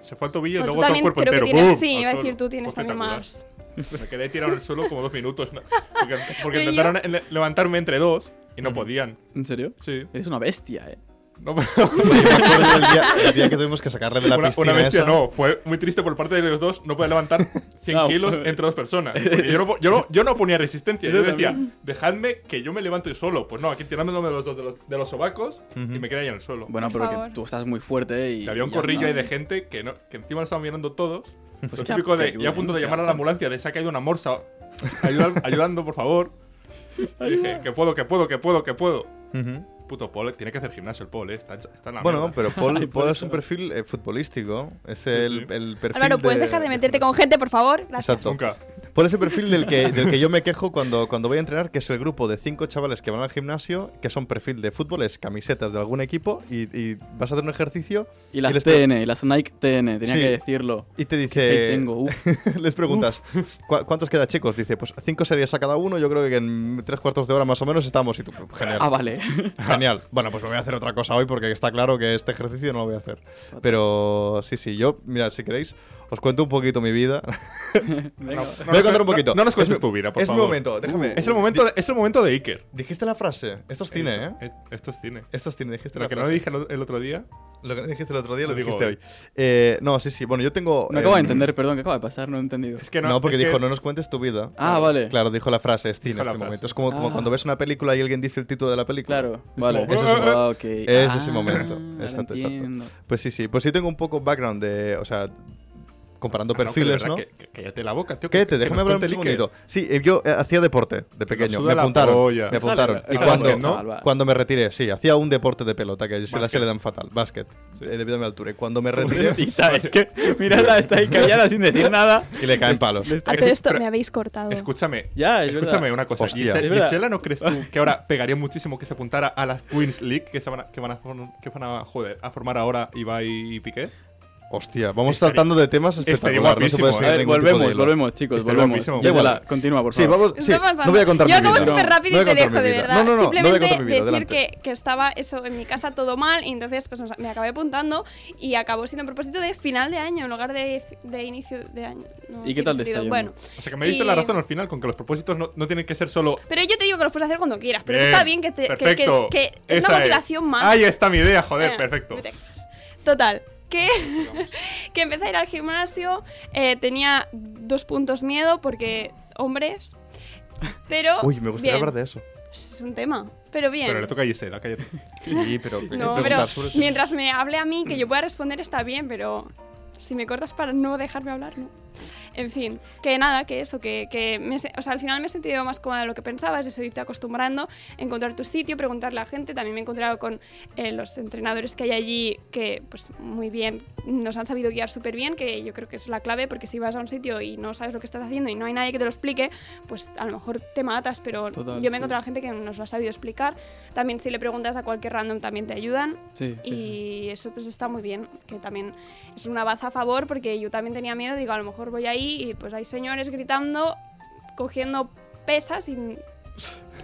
[SPEAKER 1] Se fue el tobillo y
[SPEAKER 2] Bueno,
[SPEAKER 1] luego
[SPEAKER 2] Pues tú
[SPEAKER 1] todo el
[SPEAKER 2] también
[SPEAKER 1] cuerpo
[SPEAKER 2] creo
[SPEAKER 1] entero.
[SPEAKER 2] que tienes,
[SPEAKER 1] ¡Bum!
[SPEAKER 2] sí,
[SPEAKER 1] Al
[SPEAKER 2] iba a decir,
[SPEAKER 1] suelo.
[SPEAKER 2] tú tienes
[SPEAKER 1] Fue
[SPEAKER 2] también
[SPEAKER 1] espectacular.
[SPEAKER 2] más.
[SPEAKER 1] Me quedé tirado en el suelo como dos minutos. ¿no? Porque, porque
[SPEAKER 2] Pero
[SPEAKER 1] intentaron le- levantarme entre dos y no podían.
[SPEAKER 4] ¿En serio?
[SPEAKER 1] Sí.
[SPEAKER 4] Eres una bestia, eh.
[SPEAKER 1] No, pero-
[SPEAKER 3] Yo me acuerdo del día, el día que tuvimos que sacarle de la
[SPEAKER 1] una,
[SPEAKER 3] piscina
[SPEAKER 1] una bestia
[SPEAKER 3] esa.
[SPEAKER 1] no. Fue muy triste por parte de los dos no poder levantar 100
[SPEAKER 4] No.
[SPEAKER 1] kilos entre dos personas. Porque Yo no, po- yo, no, yo no ponía resistencia. Yo
[SPEAKER 4] Yo
[SPEAKER 1] decía, dejadme que yo me levanto yo solo. Pues no, aquí tirándome de los dos de los, de los sobacos y me quedé ahí en el suelo.
[SPEAKER 4] Bueno,
[SPEAKER 2] Por
[SPEAKER 4] pero
[SPEAKER 2] favor.
[SPEAKER 4] que tú estás muy fuerte eh, y.
[SPEAKER 1] Y había un
[SPEAKER 4] y ya
[SPEAKER 1] corrillo
[SPEAKER 4] está.
[SPEAKER 1] ahí de gente que, no, que encima lo estaban mirando todos.
[SPEAKER 4] Pues
[SPEAKER 1] lo
[SPEAKER 4] que-
[SPEAKER 1] típico
[SPEAKER 4] que
[SPEAKER 1] de, ya a
[SPEAKER 4] ayuden,
[SPEAKER 1] punto de
[SPEAKER 4] que
[SPEAKER 1] llamar a la
[SPEAKER 4] ayuden.
[SPEAKER 1] ambulancia, de se ha caído una morsa, ayuda- ayudando, por favor. Y dije, que puedo, que puedo, que puedo, que puedo.
[SPEAKER 3] Ujú.
[SPEAKER 1] Puto Paul, tiene que hacer gimnasio el Paul, eh, está, está en la
[SPEAKER 3] Bueno,
[SPEAKER 1] mierda.
[SPEAKER 3] pero Paul, Paul es un perfil eh, futbolístico. Es el,
[SPEAKER 1] sí.
[SPEAKER 3] el perfil.
[SPEAKER 2] Álvaro, ¿puedes dejar de meterte con gente, por favor? Gracias.
[SPEAKER 3] Exacto.
[SPEAKER 1] Nunca.
[SPEAKER 3] Por ese perfil del que, del que yo me quejo cuando, cuando voy a entrenar, que es el grupo de cinco chavales que van al gimnasio, que son perfil de fútbol, es camisetas de algún equipo, y, y vas a hacer un ejercicio
[SPEAKER 4] Y las
[SPEAKER 3] les pre-
[SPEAKER 4] TN, y las Nike TN, tenía
[SPEAKER 3] Sí.
[SPEAKER 4] que decirlo.
[SPEAKER 3] y te
[SPEAKER 4] Ahí
[SPEAKER 3] dice.
[SPEAKER 4] tengo, uh, uf.
[SPEAKER 3] les preguntas, "¿Cu- ¿cuántos queda, chicos? Dice, pues cinco series a cada uno, yo creo que en tres cuartos de hora más o menos estamos. Y tú, "Pues, genial.
[SPEAKER 4] Ah, vale.
[SPEAKER 3] Genial. Bueno, pues me voy a hacer otra cosa hoy porque está claro que este ejercicio no lo voy a hacer. Pero sí, sí, yo, mira, si queréis, os cuento un poquito mi vida.
[SPEAKER 4] Venga.
[SPEAKER 1] No
[SPEAKER 3] voy a
[SPEAKER 1] nos-
[SPEAKER 3] contar un poquito.
[SPEAKER 1] No, no nos
[SPEAKER 3] Es
[SPEAKER 1] cuentes
[SPEAKER 3] mi-
[SPEAKER 1] tu vida, por
[SPEAKER 3] es mi
[SPEAKER 1] favor.
[SPEAKER 3] momento, déjame.
[SPEAKER 1] Es el momento, es el momento de Iker.
[SPEAKER 3] Dijiste la frase, esto es cine, ¿eh?
[SPEAKER 1] Eh, Esto es cine.
[SPEAKER 3] Esto es cine, dijiste
[SPEAKER 1] Lo
[SPEAKER 3] la
[SPEAKER 1] que no
[SPEAKER 3] frase.
[SPEAKER 1] dije el o- el otro día.
[SPEAKER 3] Lo que no dijiste el otro día lo,
[SPEAKER 1] Lo digo
[SPEAKER 3] dijiste
[SPEAKER 1] hoy.
[SPEAKER 3] hoy. Eh, no, sí, sí, bueno, yo tengo...
[SPEAKER 4] No acabo de
[SPEAKER 3] eh,
[SPEAKER 4] entender, perdón, ¿qué acaba de pasar? No he entendido.
[SPEAKER 1] Es que no.
[SPEAKER 3] No, porque
[SPEAKER 1] es que-
[SPEAKER 3] dijo, no nos cuentes tu vida.
[SPEAKER 4] Ah, vale.
[SPEAKER 3] Claro, dijo la frase, es cine
[SPEAKER 1] Dijo
[SPEAKER 3] en
[SPEAKER 1] la
[SPEAKER 3] este
[SPEAKER 1] frase.
[SPEAKER 3] momento. Es como, como
[SPEAKER 4] Ah.
[SPEAKER 3] cuando ves una película y alguien dice el título de la película.
[SPEAKER 4] Claro, vale.
[SPEAKER 3] como- "Oh". Ese es el-
[SPEAKER 4] Ah, ok.
[SPEAKER 3] ese es el
[SPEAKER 4] Ah,
[SPEAKER 3] momento.
[SPEAKER 4] ahora
[SPEAKER 3] Exacto, exacto.
[SPEAKER 4] entiendo.
[SPEAKER 3] Pues sí, sí. Pues sí tengo un poco background de... O sea, comparando
[SPEAKER 1] Ah, no, que de
[SPEAKER 3] perfiles,
[SPEAKER 1] verdad
[SPEAKER 3] ¿no?
[SPEAKER 1] que- que- Cállate la boca, tío.
[SPEAKER 3] Cállate,
[SPEAKER 1] que- que
[SPEAKER 3] déjame
[SPEAKER 1] nos
[SPEAKER 3] hablar un
[SPEAKER 1] cuente Iker.
[SPEAKER 3] segundito. Sí, eh, yo eh, hacía deporte de pequeño.
[SPEAKER 1] suda
[SPEAKER 3] Me
[SPEAKER 1] la
[SPEAKER 3] apuntaron.
[SPEAKER 1] polla.
[SPEAKER 3] Me apuntaron.
[SPEAKER 4] Déjalo,
[SPEAKER 3] y
[SPEAKER 4] déjalo,
[SPEAKER 3] cuando,
[SPEAKER 4] chaval, va.
[SPEAKER 3] cuando me retiré, sí, hacía un deporte de pelota, que se, la, se
[SPEAKER 1] Básquet.
[SPEAKER 3] le dan fatal. Básquet.
[SPEAKER 1] Sí.
[SPEAKER 3] eh, debido a mi altura. Y cuando me retiré.
[SPEAKER 4] Pobrecita, es que mírala, está ahí callada sin decir nada.
[SPEAKER 3] y le caen palos.
[SPEAKER 4] Le está-
[SPEAKER 2] A todo esto
[SPEAKER 1] Pero-
[SPEAKER 2] me habéis cortado.
[SPEAKER 1] Escúchame.
[SPEAKER 4] Ya, es
[SPEAKER 1] Escúchame
[SPEAKER 4] verdad.
[SPEAKER 1] una cosa.
[SPEAKER 3] Hostia.
[SPEAKER 1] Gisela,
[SPEAKER 4] Es verdad.
[SPEAKER 1] Gisela, ¿no crees tú que ahora pegaría muchísimo que se apuntara a las Queens League que, se van, a, que, van, a, form- que van a, joder, a formar ahora Ibai y Piqué?
[SPEAKER 3] Hostia, vamos
[SPEAKER 1] Estaría-
[SPEAKER 3] saltando de temas
[SPEAKER 1] estaría
[SPEAKER 3] espectacular. No se puede
[SPEAKER 1] guapísimo,
[SPEAKER 4] A
[SPEAKER 3] seguir
[SPEAKER 1] eh.
[SPEAKER 4] ver,
[SPEAKER 3] ningún tipo de
[SPEAKER 4] volvemos,
[SPEAKER 3] hilo.
[SPEAKER 4] volvemos, chicos,
[SPEAKER 1] Está
[SPEAKER 4] volvemos.
[SPEAKER 1] guapísimo.
[SPEAKER 4] Ya
[SPEAKER 3] Igual.
[SPEAKER 4] la- continúa, por
[SPEAKER 3] Sí,
[SPEAKER 4] favor.
[SPEAKER 3] vamos.
[SPEAKER 2] Está
[SPEAKER 3] Sí,
[SPEAKER 2] pasando.
[SPEAKER 3] no voy a contar
[SPEAKER 2] Yo
[SPEAKER 3] mi
[SPEAKER 2] acabo
[SPEAKER 3] vida.
[SPEAKER 2] súper rápido
[SPEAKER 3] No
[SPEAKER 2] y
[SPEAKER 3] voy
[SPEAKER 2] te
[SPEAKER 3] a contar
[SPEAKER 2] dejo,
[SPEAKER 3] mi
[SPEAKER 2] de
[SPEAKER 3] vida.
[SPEAKER 2] verdad.
[SPEAKER 3] No, no, no. No voy a
[SPEAKER 2] Simplemente
[SPEAKER 3] contar mi vida.
[SPEAKER 2] decir
[SPEAKER 3] Adelante.
[SPEAKER 2] que, que estaba eso en mi casa todo mal y entonces pues, nos- me acabé apuntando y acabó siendo un propósito de final de año en lugar de, de inicio de año. No
[SPEAKER 4] ¿Y
[SPEAKER 2] tiene
[SPEAKER 4] qué tal te está
[SPEAKER 2] sentido.
[SPEAKER 4] yendo?
[SPEAKER 2] Bueno.
[SPEAKER 1] O sea, que me diste
[SPEAKER 2] Y-
[SPEAKER 1] la razón al final con que los propósitos no, no tienen que ser solo.
[SPEAKER 2] Pero yo te digo que los puedes hacer cuando quieras, pero
[SPEAKER 1] "Bien,
[SPEAKER 2] está bien que, te- que- que es-
[SPEAKER 1] perfecto,
[SPEAKER 2] que es
[SPEAKER 1] esa
[SPEAKER 2] una motivación más.
[SPEAKER 1] Ahí está mi idea, joder,
[SPEAKER 2] Venga,
[SPEAKER 1] perfecto.
[SPEAKER 2] vete. Total, que, que empecé a ir al gimnasio, eh, tenía dos puntos miedo porque hombres, pero...
[SPEAKER 3] Uy, me gustaría
[SPEAKER 2] bien.
[SPEAKER 3] hablar de eso.
[SPEAKER 2] Es un tema, pero bien.
[SPEAKER 1] Pero le toca a Gisela, cállate.
[SPEAKER 3] Sí, pero. que-
[SPEAKER 2] No,
[SPEAKER 3] preguntar
[SPEAKER 2] pero
[SPEAKER 3] sobre-
[SPEAKER 2] mientras me hable a mí, que yo pueda responder está bien, pero si me cortas para no dejarme hablar, no. En fin, que nada, que eso, que, que me se- o sea, al final me he sentido más cómoda de lo que pensabas, eso irte acostumbrando, encontrar tu sitio, preguntarle a la gente, también me he encontrado con eh, los entrenadores que hay allí que, pues muy bien, nos han sabido guiar súper bien, que yo creo que es la clave, porque si vas a un sitio y no sabes lo que estás haciendo y no hay nadie que te lo explique, pues a lo mejor te matas, pero
[SPEAKER 4] Total,
[SPEAKER 2] yo me he
[SPEAKER 4] sí.
[SPEAKER 2] encontrado gente que nos lo ha sabido explicar, también si le preguntas a cualquier random también te ayudan
[SPEAKER 4] Sí, sí, sí.
[SPEAKER 2] y eso pues está muy bien, que también es una baza a favor porque yo también tenía miedo, digo, a lo mejor voy ahí y pues hay señores gritando, cogiendo pesas y,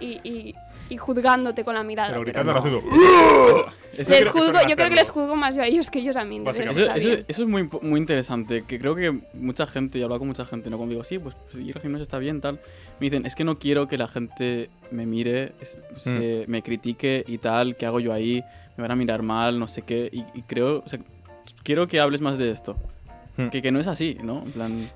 [SPEAKER 2] y, y- y juzgándote con la mirada.
[SPEAKER 1] Pero
[SPEAKER 2] pero
[SPEAKER 1] gritando,
[SPEAKER 2] no.
[SPEAKER 1] haciendo.
[SPEAKER 3] Pues,
[SPEAKER 4] Eso-
[SPEAKER 2] Les
[SPEAKER 1] creo que
[SPEAKER 2] juzgo,
[SPEAKER 1] suelen
[SPEAKER 2] yo creo que
[SPEAKER 1] hacerlo.
[SPEAKER 2] les juzgo más yo a ellos que ellos a mí. entonces
[SPEAKER 1] Básicamente.
[SPEAKER 4] Eso,
[SPEAKER 2] está
[SPEAKER 4] eso-
[SPEAKER 2] bien.
[SPEAKER 4] eso es muy, impo- muy interesante, que creo que mucha gente, y he hablado con mucha gente, ¿no? Cuando digo, sí, pues, pues, ir al gimnasio está bien, tal, me dicen, es que no quiero que la gente me mire, es- se-
[SPEAKER 1] Mm.
[SPEAKER 4] me critique y tal, ¿qué hago yo ahí? Me van a mirar mal, no sé qué, y, y creo, o sea, quiero que hables más de esto,
[SPEAKER 3] Mm.
[SPEAKER 4] que, que no es así, ¿no? En plan,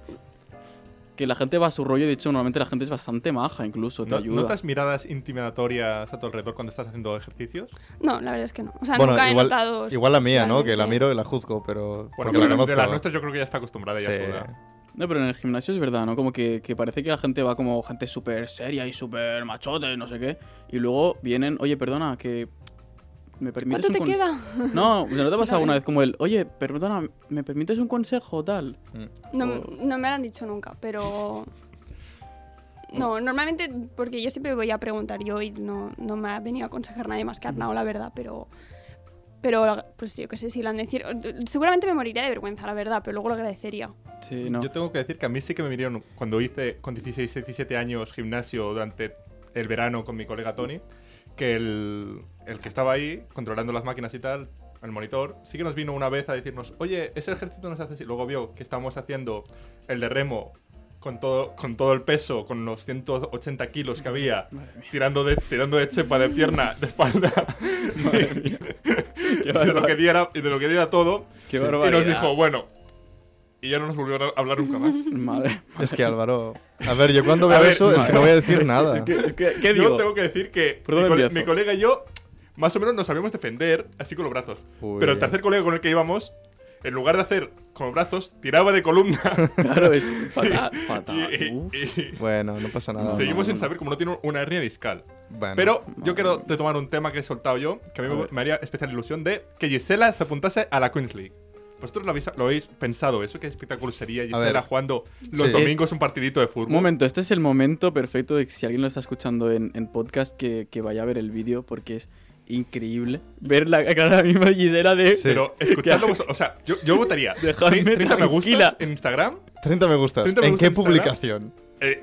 [SPEAKER 4] que la gente va a su rollo, de hecho, normalmente la gente es bastante maja
[SPEAKER 3] pues,
[SPEAKER 4] incluso, te
[SPEAKER 1] ¿No-
[SPEAKER 4] ayuda.
[SPEAKER 1] ¿Notas miradas intimidatorias a tu alrededor cuando estás haciendo ejercicios?
[SPEAKER 2] No, la verdad es que no. O sea,
[SPEAKER 3] Bueno,
[SPEAKER 2] nunca he
[SPEAKER 3] igual,
[SPEAKER 2] notado...
[SPEAKER 3] igual la mía, ¿no? Que la
[SPEAKER 2] realmente.
[SPEAKER 3] miro y la juzgo, pero.
[SPEAKER 1] Bueno,
[SPEAKER 3] porque la
[SPEAKER 1] pero
[SPEAKER 3] conozco.
[SPEAKER 1] de las nuestras yo creo que ya está acostumbrada ya
[SPEAKER 3] Sí.
[SPEAKER 1] sola.
[SPEAKER 4] No, pero en el gimnasio es verdad, ¿no? Como que, que parece que la gente va como gente súper seria y súper machote y no sé qué. Y luego vienen, oye, perdona, que... ¿Me permites
[SPEAKER 2] ¿Cuánto te
[SPEAKER 4] un con-
[SPEAKER 2] queda?
[SPEAKER 4] No, o sea, ¿no te ha pasado
[SPEAKER 2] Vale.
[SPEAKER 4] alguna vez como el, oye, perdona, ¿me permites un consejo tal?
[SPEAKER 3] Mm.
[SPEAKER 2] No,
[SPEAKER 4] O-
[SPEAKER 2] no me lo han dicho nunca, pero... No, normalmente, porque yo siempre voy a preguntar yo y no, no me ha venido a aconsejar nadie más que Arnau, la verdad, pero... Pero, pues yo qué sé, si la han de decir. Seguramente me moriría de vergüenza, la verdad, pero luego lo agradecería.
[SPEAKER 4] Sí, no.
[SPEAKER 1] Yo tengo que decir que a mí sí que me vinieron, cuando hice con 16, 17 años gimnasio durante el verano con mi colega Tony, que el, el que estaba ahí controlando las máquinas y tal, el monitor, sí que nos vino una vez a decirnos, oye, ese ejercicio nos hace así. Luego vio que estábamos haciendo el de remo con todo, con todo el peso, con los 180 kilos que había, tirando de, tirando de chepa de pierna, de espalda, y de, lo que diera, y de lo que diera todo.
[SPEAKER 4] Qué
[SPEAKER 1] y
[SPEAKER 4] barbaridad.
[SPEAKER 1] nos dijo, bueno. Y ya no nos volvió a hablar nunca más.
[SPEAKER 4] Madre.
[SPEAKER 3] Es que Álvaro. A ver, yo cuando veo
[SPEAKER 1] A ver,
[SPEAKER 3] eso es que
[SPEAKER 1] vale.
[SPEAKER 3] no voy a decir nada.
[SPEAKER 4] Es que, es que- ¿Qué
[SPEAKER 1] Yo
[SPEAKER 4] digo?
[SPEAKER 1] tengo que decir que
[SPEAKER 4] ¿Por
[SPEAKER 1] mi,
[SPEAKER 4] dónde
[SPEAKER 1] cole-
[SPEAKER 4] empiezo?
[SPEAKER 1] mi colega y yo más o menos nos sabíamos defender así con los brazos.
[SPEAKER 3] Uy.
[SPEAKER 1] Pero el tercer colega con el que íbamos, en lugar de hacer con los brazos, tiraba de columna.
[SPEAKER 4] Claro, es que fatal. fatal.
[SPEAKER 1] y, y-
[SPEAKER 4] Uf. Ah,
[SPEAKER 1] y-
[SPEAKER 3] Bueno, no pasa nada.
[SPEAKER 1] seguimos
[SPEAKER 4] no, Ah,
[SPEAKER 1] sin
[SPEAKER 4] no.
[SPEAKER 1] saber cómo no tiene una hernia discal.
[SPEAKER 3] Bueno.
[SPEAKER 1] Pero yo quiero retomar un tema que he soltado yo, que a mí
[SPEAKER 4] A
[SPEAKER 1] me-
[SPEAKER 4] ver.
[SPEAKER 1] me haría especial ilusión de que Gisela se apuntase a la Queens League. ¿Vosotros lo habéis, lo habéis pensado eso? ¿Qué espectáculo sería Gisela
[SPEAKER 3] ver.
[SPEAKER 1] jugando los
[SPEAKER 3] Sí.
[SPEAKER 1] domingos un partidito de fútbol?
[SPEAKER 4] Un momento, este es el momento perfecto de que si alguien lo está escuchando en, en podcast que, que vaya a ver el vídeo porque es increíble ver la cara misma de Gisela de...
[SPEAKER 3] Sí.
[SPEAKER 1] Pero escuchadlo vos- o sea, yo, yo votaría
[SPEAKER 4] Dejadme
[SPEAKER 1] 30 me gustas
[SPEAKER 4] tranquila.
[SPEAKER 1] en Instagram
[SPEAKER 3] 30 me gustas.
[SPEAKER 1] 30 me
[SPEAKER 3] ¿En
[SPEAKER 1] gusta
[SPEAKER 3] qué
[SPEAKER 1] en Instagram.
[SPEAKER 3] publicación?
[SPEAKER 1] Eh,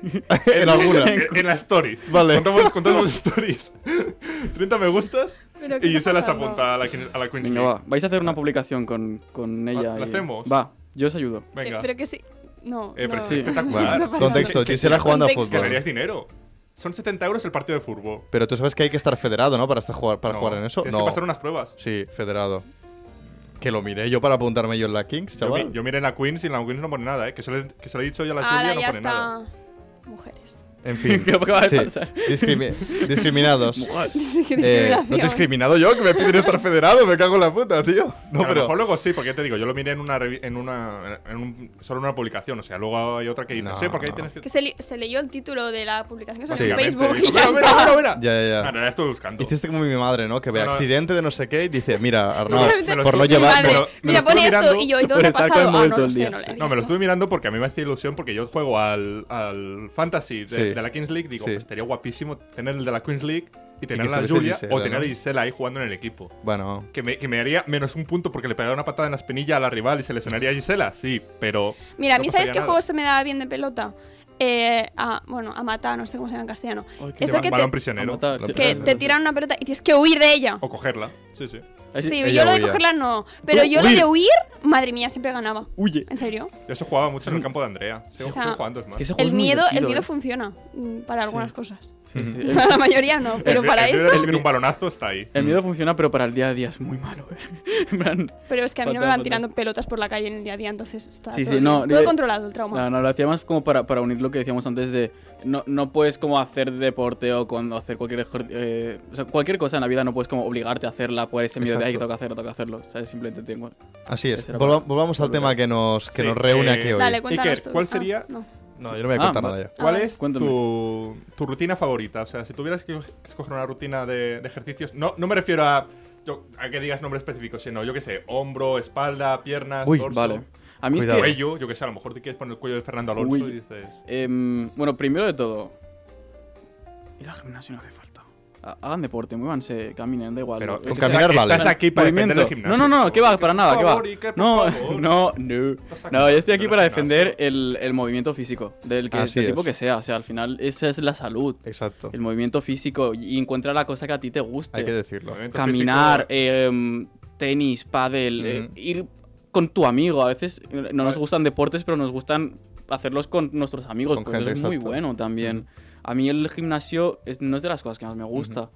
[SPEAKER 3] en alguna.
[SPEAKER 1] En, en las stories.
[SPEAKER 3] Vale.
[SPEAKER 1] Contamos, contamos stories. 30 me gustas
[SPEAKER 2] Pero ¿qué
[SPEAKER 1] y
[SPEAKER 2] está
[SPEAKER 1] se las
[SPEAKER 2] pasando?
[SPEAKER 1] apunta a la, Queen- a la Queen's
[SPEAKER 4] Venga,
[SPEAKER 1] League.
[SPEAKER 4] va. Vais a hacer una publicación con, con ella.
[SPEAKER 1] Ah, ¿La
[SPEAKER 4] y-
[SPEAKER 1] hacemos?
[SPEAKER 4] Va, yo os ayudo.
[SPEAKER 1] Venga.
[SPEAKER 2] Que- pero que sí. No.
[SPEAKER 1] Eh, pero
[SPEAKER 2] no.
[SPEAKER 1] sí, espectacular.
[SPEAKER 2] No sé qué está pasando.
[SPEAKER 3] Contexto, Gisela jugando a
[SPEAKER 2] Contexto.
[SPEAKER 3] fútbol.
[SPEAKER 1] Ganarías dinero. Son 70 euros el partido de fútbol.
[SPEAKER 3] Pero tú sabes que hay que estar federado, ¿no? Para, estar jugar, para
[SPEAKER 1] No,
[SPEAKER 3] jugar en eso.
[SPEAKER 1] Tienes
[SPEAKER 3] No.
[SPEAKER 1] que pasar unas pruebas.
[SPEAKER 3] Sí, federado. Que lo miré yo para apuntarme yo en la Kings,
[SPEAKER 1] Yo,
[SPEAKER 3] chaval.
[SPEAKER 1] mi- yo miré en la Queens y en la Queens no pone nada, ¿eh? Que se lo, he- que se lo he dicho yo a la
[SPEAKER 2] Ahora
[SPEAKER 1] Julia, no
[SPEAKER 2] ya
[SPEAKER 1] pone
[SPEAKER 2] está.
[SPEAKER 1] nada.
[SPEAKER 2] Mujeres.
[SPEAKER 3] En fin.
[SPEAKER 4] ¿Qué acaba de
[SPEAKER 3] Sí.
[SPEAKER 4] pasar?
[SPEAKER 3] Discrimi- discriminados.
[SPEAKER 2] Sí, que
[SPEAKER 3] Eh,
[SPEAKER 2] discriminación.
[SPEAKER 3] no te he discriminado yo, que me piden estar federado, me cago en la puta, tío. No,
[SPEAKER 1] a lo
[SPEAKER 3] pero.
[SPEAKER 1] mejor luego sí, porque ya te digo, yo lo miré en una, revi- en una en un- solo en una publicación, o sea, luego hay otra que dice,
[SPEAKER 3] No.
[SPEAKER 1] sí, porque ahí tienes que...
[SPEAKER 2] Que se, li- se leyó el título de la publicación que salió en
[SPEAKER 1] Básicamente,
[SPEAKER 2] Facebook
[SPEAKER 1] dijo,
[SPEAKER 2] y ya
[SPEAKER 1] mira, mira,
[SPEAKER 2] está.
[SPEAKER 1] mira, mira".
[SPEAKER 3] Ya, ya,
[SPEAKER 1] Ah,
[SPEAKER 3] ya.
[SPEAKER 1] no, la estoy buscando.
[SPEAKER 3] Hiciste como mi madre, ¿no? Que ve
[SPEAKER 1] No, no.
[SPEAKER 3] accidente de no sé qué y dice, mira, Arnaud,
[SPEAKER 1] Me lo
[SPEAKER 3] por no
[SPEAKER 1] estoy-
[SPEAKER 2] Mi
[SPEAKER 3] llevar.
[SPEAKER 2] madre,
[SPEAKER 1] me lo- me
[SPEAKER 2] mira,
[SPEAKER 1] lo
[SPEAKER 2] pone
[SPEAKER 1] estuve
[SPEAKER 2] esto
[SPEAKER 1] mirando
[SPEAKER 2] y yo, ¿y
[SPEAKER 4] por
[SPEAKER 2] dónde ha
[SPEAKER 4] estar con el
[SPEAKER 2] pasado? Ah,
[SPEAKER 4] móvil
[SPEAKER 2] no,
[SPEAKER 4] todo
[SPEAKER 2] no
[SPEAKER 4] el
[SPEAKER 2] sé,
[SPEAKER 4] día.
[SPEAKER 2] no le he
[SPEAKER 1] No, me lo
[SPEAKER 2] abierto.
[SPEAKER 1] estuve mirando porque a mí me hacía ilusión porque yo juego al, al Fantasy de,
[SPEAKER 3] Sí.
[SPEAKER 1] de la Kings League. Digo,
[SPEAKER 3] Sí.
[SPEAKER 1] pues, estaría guapísimo tener el de la Queens League y tener a la
[SPEAKER 3] estuviese
[SPEAKER 1] Julia
[SPEAKER 3] Gisela,
[SPEAKER 1] o tener a
[SPEAKER 3] ¿no?
[SPEAKER 1] Gisela ahí jugando en el equipo.
[SPEAKER 3] Bueno,
[SPEAKER 1] Que me, que me haría menos un punto porque le pegaría una patada en la espinilla a la rival y se lesionaría a Gisela, sí, pero.
[SPEAKER 2] Mira, a
[SPEAKER 1] no
[SPEAKER 2] mí, ¿sabes
[SPEAKER 1] pasaría
[SPEAKER 2] qué
[SPEAKER 1] nada.
[SPEAKER 2] juego se me da bien de pelota? Eh, a- bueno, a matar, no sé cómo se llama en castellano.
[SPEAKER 4] Ay,
[SPEAKER 1] Que
[SPEAKER 2] Eso
[SPEAKER 1] va-
[SPEAKER 2] que
[SPEAKER 1] balón
[SPEAKER 2] te-
[SPEAKER 1] prisionero.
[SPEAKER 4] matar, sí.
[SPEAKER 2] Que te tiran una pelota y tienes que huir de ella.
[SPEAKER 1] O cogerla. Sí, sí.
[SPEAKER 4] Así-
[SPEAKER 2] Sí,
[SPEAKER 3] Ella
[SPEAKER 2] yo lo de
[SPEAKER 3] huía.
[SPEAKER 2] cogerla no. Pero
[SPEAKER 4] Tú,
[SPEAKER 2] yo lo
[SPEAKER 4] huir.
[SPEAKER 2] de huir, madre mía, siempre ganaba.
[SPEAKER 4] Huye.
[SPEAKER 2] ¿En serio?
[SPEAKER 1] Yo eso jugaba mucho en el campo de Andrea. Sigo
[SPEAKER 2] O sea,
[SPEAKER 1] sigo jugando, es más.
[SPEAKER 4] Que ese juego
[SPEAKER 2] El
[SPEAKER 4] es muy
[SPEAKER 2] miedo, el
[SPEAKER 4] divertido,
[SPEAKER 2] miedo
[SPEAKER 4] ¿eh?
[SPEAKER 2] funciona mm, para algunas cosas.
[SPEAKER 4] Sí, sí. El-
[SPEAKER 2] Para la mayoría no, pero
[SPEAKER 1] El-
[SPEAKER 2] para
[SPEAKER 1] el, de
[SPEAKER 2] esto.
[SPEAKER 1] recibir un balonazo está ahí.
[SPEAKER 4] El miedo funciona, pero para el día a día es muy malo. ¿eh? En plan,
[SPEAKER 2] Pero es que a mí no me
[SPEAKER 4] Fatal,
[SPEAKER 2] van
[SPEAKER 4] fatal.
[SPEAKER 2] tirando pelotas por la calle en el día a día, entonces está
[SPEAKER 4] Sí,
[SPEAKER 2] todo,
[SPEAKER 4] sí, no,
[SPEAKER 2] todo
[SPEAKER 4] de-
[SPEAKER 2] controlado el trauma.
[SPEAKER 4] No, no, lo hacía más como para, para unir lo que decíamos antes de no, no puedes como hacer deporte o cuando hacer cualquier ejer- eh, o sea, cualquier cosa en la vida no puedes como obligarte a hacerla por ese miedo de ay,
[SPEAKER 3] Exacto.
[SPEAKER 4] toca hacerlo, toca hacerlo. O sea, simplemente tengo
[SPEAKER 3] así es.
[SPEAKER 4] Ese era
[SPEAKER 3] Volva-
[SPEAKER 4] para-
[SPEAKER 3] volvamos al
[SPEAKER 4] volver.
[SPEAKER 3] tema que nos, que
[SPEAKER 1] Sí,
[SPEAKER 3] nos reúne
[SPEAKER 1] eh,
[SPEAKER 3] aquí hoy.
[SPEAKER 2] Dale, cuéntanos
[SPEAKER 1] Iker,
[SPEAKER 2] tú.
[SPEAKER 1] ¿cuál
[SPEAKER 2] Ah,
[SPEAKER 1] sería-
[SPEAKER 2] no.
[SPEAKER 3] No, yo no voy a
[SPEAKER 4] Ah,
[SPEAKER 3] contar
[SPEAKER 4] va-
[SPEAKER 3] nada ya.
[SPEAKER 2] Ah,
[SPEAKER 1] ¿Cuál
[SPEAKER 2] vale.
[SPEAKER 1] es
[SPEAKER 4] Cuéntame.
[SPEAKER 1] tu, tu rutina favorita? O sea, si tuvieras que escoger una rutina de, de ejercicios, no, no me refiero a, yo- a que digas nombres específicos, sino yo que sé, hombro, espalda, piernas,
[SPEAKER 3] Uy,
[SPEAKER 1] torso,
[SPEAKER 4] Vale. A mí
[SPEAKER 3] Cuidado.
[SPEAKER 4] es que...
[SPEAKER 1] cuello, yo que sé, a lo mejor te quieres poner el cuello de Fernando Alonso
[SPEAKER 4] Uy.
[SPEAKER 1] y dices.
[SPEAKER 4] em, bueno, primero de todo... Ir al gimnasio no hace falta. Ha- Hagan deporte, muévanse, caminen, da igual.
[SPEAKER 1] Pero
[SPEAKER 4] lo que
[SPEAKER 1] estás-
[SPEAKER 4] sea.
[SPEAKER 3] caminar vale.
[SPEAKER 1] Estás aquí para defender el
[SPEAKER 4] Movimiento.
[SPEAKER 1] gimnasio.
[SPEAKER 4] No, no, no, no, que va, para nada, que
[SPEAKER 1] Por
[SPEAKER 4] va.
[SPEAKER 1] favor, Iker, por
[SPEAKER 4] No,
[SPEAKER 1] favor.
[SPEAKER 4] no, no.
[SPEAKER 1] Estás aquí
[SPEAKER 4] No, yo estoy aquí
[SPEAKER 1] defender
[SPEAKER 4] para
[SPEAKER 1] el gimnasio.
[SPEAKER 4] defender el, el movimiento físico, del, que,
[SPEAKER 3] Así
[SPEAKER 4] del tipo
[SPEAKER 3] es.
[SPEAKER 4] que sea. O sea, al final, esa es la salud.
[SPEAKER 3] Exacto.
[SPEAKER 4] El movimiento físico y encuentra la cosa que a ti te guste.
[SPEAKER 3] Hay que decirlo.
[SPEAKER 1] Movimiento
[SPEAKER 4] Caminar,
[SPEAKER 1] físico,
[SPEAKER 4] em, tenis, pádel, eh,
[SPEAKER 3] Ujú.
[SPEAKER 4] ir con tu amigo. A veces eh, no nos gustan deportes, pero nos gustan hacerlos con nuestros amigos.
[SPEAKER 3] Con
[SPEAKER 4] porque
[SPEAKER 3] gente,
[SPEAKER 4] eso es muy
[SPEAKER 3] exacto.
[SPEAKER 4] bueno también. A mí el gimnasio es- no es de las cosas que más me gusta.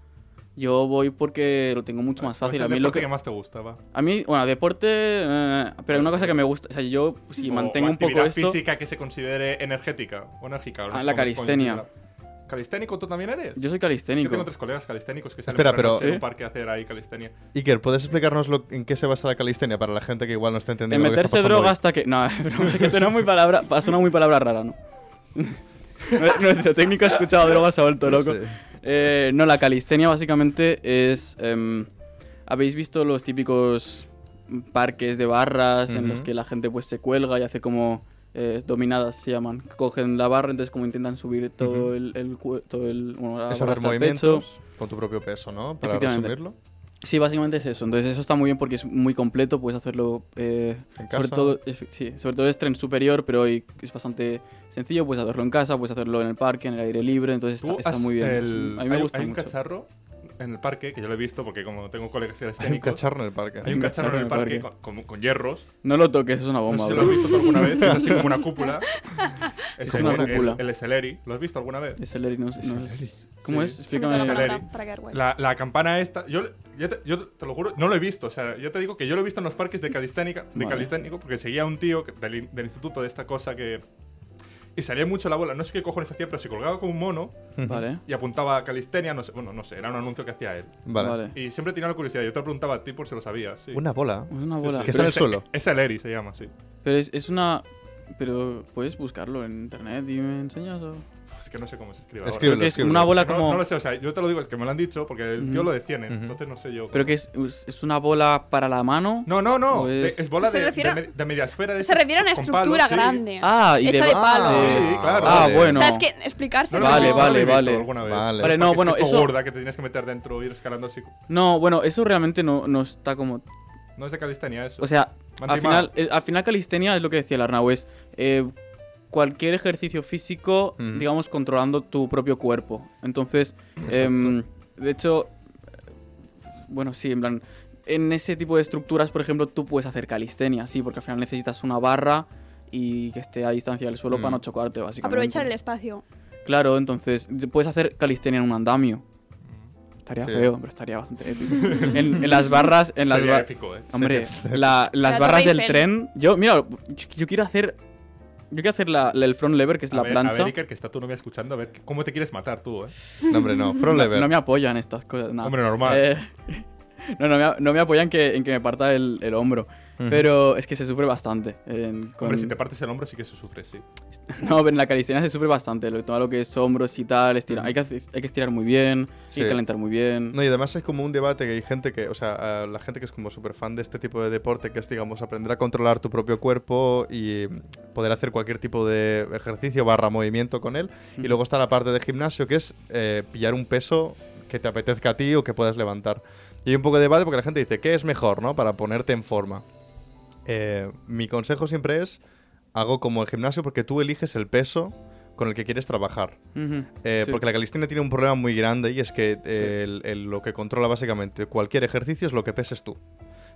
[SPEAKER 4] Yo voy porque lo tengo mucho más
[SPEAKER 1] ¿cuál es
[SPEAKER 4] fácil.
[SPEAKER 1] el
[SPEAKER 4] A mí lo
[SPEAKER 1] deporte
[SPEAKER 4] que
[SPEAKER 1] que más te gusta, va?
[SPEAKER 4] a mí, bueno, deporte, eh, pero hay una cosa que me gusta, o sea, yo si
[SPEAKER 1] O-
[SPEAKER 4] mantengo
[SPEAKER 1] o
[SPEAKER 4] un poco
[SPEAKER 1] actividad
[SPEAKER 4] esto,
[SPEAKER 1] física que se considere energética o enérgica. o no
[SPEAKER 4] Ah,
[SPEAKER 1] sé
[SPEAKER 4] la
[SPEAKER 1] cómo se
[SPEAKER 4] calistenia.
[SPEAKER 1] considera. ¿Calisténico tú también eres?
[SPEAKER 4] yo soy
[SPEAKER 1] Yo tengo
[SPEAKER 4] calisténico.
[SPEAKER 1] tres colegas calisténicos que salen
[SPEAKER 3] Espera,
[SPEAKER 1] por la
[SPEAKER 3] pero-
[SPEAKER 1] noche a un
[SPEAKER 4] ¿Sí?
[SPEAKER 1] parque a hacer ahí calistenia.
[SPEAKER 3] Iker, ¿puedes explicarnos lo- en qué se basa la calistenia para la gente que igual no está
[SPEAKER 4] De
[SPEAKER 3] entendiendo lo que está
[SPEAKER 4] meterse
[SPEAKER 3] pasando
[SPEAKER 4] droga
[SPEAKER 3] hoy?
[SPEAKER 4] hasta que... No, pero es que suena muy palabra, pa- suena muy palabra rara, ¿no? Nue- Nuestro técnico ha escuchado drogas, se ha vuelto loco.
[SPEAKER 3] Sí.
[SPEAKER 4] Eh, no, la calistenia básicamente es... em, ¿Habéis visto los típicos parques de barras en los
[SPEAKER 3] Ujú.
[SPEAKER 4] que la gente pues se cuelga y hace como... eh, dominadas se llaman. Cogen la barra, entonces como intentan subir todo el... el cue- todo el bueno, la
[SPEAKER 3] Es
[SPEAKER 4] barra
[SPEAKER 3] hacer
[SPEAKER 4] hasta el pecho.
[SPEAKER 3] movimientos con tu propio peso, ¿no? Para
[SPEAKER 4] Efectivamente.
[SPEAKER 3] resumirlo.
[SPEAKER 4] Sí, básicamente es eso. Entonces eso está muy bien porque es muy completo, puedes hacerlo eh,
[SPEAKER 3] En
[SPEAKER 4] sobre
[SPEAKER 3] casa.
[SPEAKER 4] todo efe- sí, sobre todo es tren superior, pero hoy es bastante sencillo, puedes hacerlo en casa, puedes hacerlo en el parque, en el aire libre, entonces está,
[SPEAKER 1] Tú
[SPEAKER 4] está
[SPEAKER 1] has-
[SPEAKER 4] muy bien.
[SPEAKER 1] el-
[SPEAKER 4] a mí me
[SPEAKER 1] hay,
[SPEAKER 4] gusta
[SPEAKER 1] hay un
[SPEAKER 4] mucho.
[SPEAKER 1] cacharro en el parque, que yo lo he visto porque como tengo colegas
[SPEAKER 3] Hay un
[SPEAKER 1] cacharro
[SPEAKER 3] cacharro en el parque.
[SPEAKER 1] Hay un cacharro en el parque con, con- con hierros.
[SPEAKER 4] No lo toques, es una
[SPEAKER 1] No
[SPEAKER 4] bomba,
[SPEAKER 1] sé si lo has
[SPEAKER 4] bro.
[SPEAKER 1] visto tú alguna vez. Es así como una cúpula.
[SPEAKER 4] Es
[SPEAKER 1] el-
[SPEAKER 4] una
[SPEAKER 1] el-
[SPEAKER 4] cúpula.
[SPEAKER 1] El, Esleri. ¿Lo has visto alguna vez?
[SPEAKER 4] Es el Eric, no, no es- ¿Cómo
[SPEAKER 1] Sí.
[SPEAKER 4] es?
[SPEAKER 2] Explícame
[SPEAKER 4] Explícame.
[SPEAKER 2] la
[SPEAKER 1] Saleri.
[SPEAKER 2] palabra para quedar guay.
[SPEAKER 1] La, la campana esta, yo, yo te, yo te lo juro, no lo he visto. O sea, yo te digo que yo lo he visto en los parques de calisténica, de
[SPEAKER 4] Vale.
[SPEAKER 1] calisténico, porque seguía a un tío que- del, in- del instituto de esta cosa que. Y salía mucho la bola. No sé qué cojones hacía, pero se colgaba con un mono
[SPEAKER 4] Vale.
[SPEAKER 1] y apuntaba a calistenia. No sé, bueno, no sé, era un anuncio que hacía él.
[SPEAKER 3] Vale.
[SPEAKER 4] Vale.
[SPEAKER 1] Y siempre tenía la curiosidad. Yo te lo preguntaba a ti por si lo sabías. Sí.
[SPEAKER 3] Una bola.
[SPEAKER 4] Es una bola.
[SPEAKER 3] Que está
[SPEAKER 4] Pero,
[SPEAKER 3] en el
[SPEAKER 4] es,
[SPEAKER 3] suelo.
[SPEAKER 1] Es el Eri, se llama, sí.
[SPEAKER 4] pero es- es una. Pero puedes buscarlo en internet y me enseñas. o-
[SPEAKER 1] Es que no sé cómo se escribe. ahora.
[SPEAKER 3] Escríbelo,
[SPEAKER 4] que es
[SPEAKER 3] escríbelo.
[SPEAKER 4] una bola
[SPEAKER 1] No-
[SPEAKER 4] como.
[SPEAKER 1] No, lo sé, o sea, yo te lo digo, es que me lo han dicho porque el tío
[SPEAKER 4] Ujú.
[SPEAKER 1] lo detiene,
[SPEAKER 3] Ujú.
[SPEAKER 1] entonces no sé yo.
[SPEAKER 4] Pero que es, es una bola para la mano.
[SPEAKER 1] No, no, no,
[SPEAKER 4] O
[SPEAKER 1] de-
[SPEAKER 4] es-
[SPEAKER 1] es, bola
[SPEAKER 2] Se
[SPEAKER 1] de,
[SPEAKER 2] refiere a-
[SPEAKER 1] de me- de media esfera. de
[SPEAKER 2] Se
[SPEAKER 1] esas,
[SPEAKER 2] refiere a una
[SPEAKER 1] con palos,
[SPEAKER 2] estructura
[SPEAKER 1] sí.
[SPEAKER 2] grande.
[SPEAKER 4] Ah, y
[SPEAKER 2] Hecha
[SPEAKER 4] de-
[SPEAKER 2] de palos.
[SPEAKER 1] Sí, claro.
[SPEAKER 4] Ah, bueno.
[SPEAKER 2] O sea, es que explicarse.
[SPEAKER 1] No, no,
[SPEAKER 4] Vale,
[SPEAKER 1] no,
[SPEAKER 2] no-
[SPEAKER 4] vale,
[SPEAKER 1] no lo he visto
[SPEAKER 4] vale.
[SPEAKER 1] alguna vez.
[SPEAKER 3] Vale.
[SPEAKER 4] Vale, no,
[SPEAKER 1] Porque es
[SPEAKER 4] bueno,
[SPEAKER 1] que es
[SPEAKER 4] eso.
[SPEAKER 1] gorda que te tienes que meter dentro ir escalando así.
[SPEAKER 4] No, bueno, eso realmente no, no está como.
[SPEAKER 1] No es de calistenia eso.
[SPEAKER 4] O sea, al
[SPEAKER 1] Mantimado.
[SPEAKER 4] final, eh, al final calistenia es lo que decía el Arnau, es eh, cualquier ejercicio físico,
[SPEAKER 3] Ujú.
[SPEAKER 4] digamos, controlando tu propio cuerpo. Entonces, em, de hecho, eh, bueno, sí, en plan, en ese tipo de estructuras, por ejemplo, tú puedes hacer calistenia, sí, porque al final necesitas una barra y que esté a distancia del suelo
[SPEAKER 3] Mm.
[SPEAKER 4] para no chocarte, básicamente.
[SPEAKER 2] Aprovechar el espacio.
[SPEAKER 4] Claro, entonces puedes hacer calistenia en un andamio.
[SPEAKER 1] Mm.
[SPEAKER 4] Estaría
[SPEAKER 3] Sí.
[SPEAKER 4] feo, pero estaría bastante épico. en, en las barras, en las
[SPEAKER 1] Sería
[SPEAKER 4] barras.
[SPEAKER 1] épico, eh.
[SPEAKER 4] Hombre, la- las
[SPEAKER 2] La
[SPEAKER 4] barras
[SPEAKER 2] Torre
[SPEAKER 4] del
[SPEAKER 2] Eiffel.
[SPEAKER 4] tren. Yo, mira, yo, yo quiero hacer. Yo quiero hacer la, la- el front lever, que es
[SPEAKER 1] A
[SPEAKER 4] la
[SPEAKER 1] ver,
[SPEAKER 4] plancha.
[SPEAKER 1] A ver, Iker, que está tu novia escuchando, a ver cómo te quieres matar tú, eh.
[SPEAKER 3] No, hombre, no. Front
[SPEAKER 4] no,
[SPEAKER 3] lever.
[SPEAKER 4] no me apoyan estas cosas. nada.
[SPEAKER 1] Hombre, normal.
[SPEAKER 4] Eh, no, no me, no me apoyan que, en que me parta el, el hombro.
[SPEAKER 3] Ujú.
[SPEAKER 4] Pero es que se sufre bastante. en- con-
[SPEAKER 1] Hombre, si te partes el hombro sí que se sufre, sí.
[SPEAKER 4] No, pero en la calistenia se sufre bastante. Lo, todo lo que es hombros y tal. estira- hay, que, hacer- hay que estirar muy bien.
[SPEAKER 3] Sí.
[SPEAKER 4] Hay que calentar muy bien.
[SPEAKER 3] No, y además es como un debate que hay gente que, o sea, a la gente que es como súper fan de este tipo de deporte, que es, digamos, aprender a controlar tu propio cuerpo y mm, poder hacer cualquier tipo de ejercicio barra movimiento con él. Y luego está la parte de gimnasio, que es eh, pillar un peso que te apetezca a ti o que puedas levantar. Y hay un poco de debate porque la gente dice, ¿qué es mejor, no? Para ponerte en forma. Eh, mi consejo siempre es, hago como el gimnasio porque tú eliges el peso con el que quieres trabajar.
[SPEAKER 4] Ujú,
[SPEAKER 3] Eh,
[SPEAKER 4] sí.
[SPEAKER 3] Porque la calistenia tiene un problema muy grande y es que eh, el- el- lo que controla básicamente cualquier ejercicio es lo que peses tú.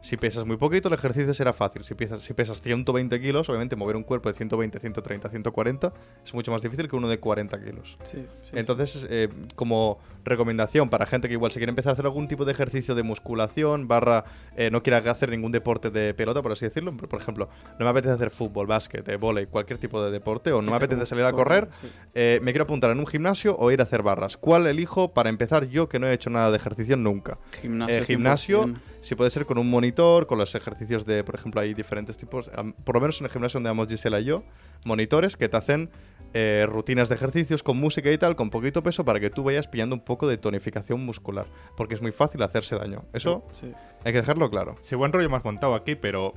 [SPEAKER 3] Si pesas muy poquito, el ejercicio será fácil. Si pesas, si pesas 120 kilos, obviamente mover un cuerpo de 120, 130, 140 es mucho más difícil que uno de 40 kilos.
[SPEAKER 4] Sí, sí, sí.
[SPEAKER 3] Entonces, eh, como recomendación para gente que igual se quiere empezar a hacer algún tipo de ejercicio de musculación, barra, eh, no quiera hacer ningún deporte de pelota, por así decirlo. Por por ejemplo, no me apetece hacer fútbol, básquet, eh, vóley, cualquier tipo de deporte, o no me
[SPEAKER 4] sea
[SPEAKER 3] apetece
[SPEAKER 4] como
[SPEAKER 3] salir a
[SPEAKER 4] correr,
[SPEAKER 3] correr,
[SPEAKER 4] sí.
[SPEAKER 3] eh, me quiero apuntar en un gimnasio o ir a hacer barras. ¿Cuál elijo para empezar yo que no he hecho nada de ejercicio nunca?
[SPEAKER 4] Gimnasio.
[SPEAKER 3] Eh, gimnasio,
[SPEAKER 4] 100%.
[SPEAKER 3] si puede ser con un monitor, con los ejercicios de, por ejemplo, hay diferentes tipos, am- por lo menos en el gimnasio donde vamos Gisela y yo, monitores que te hacen eh, rutinas de ejercicios con música y tal, con poquito peso, para que tú vayas pillando un poco de tonificación muscular, porque es muy fácil hacerse daño. Eso
[SPEAKER 4] Sí.
[SPEAKER 3] hay que dejarlo claro.
[SPEAKER 1] Sí, buen rollo me has montado aquí, pero...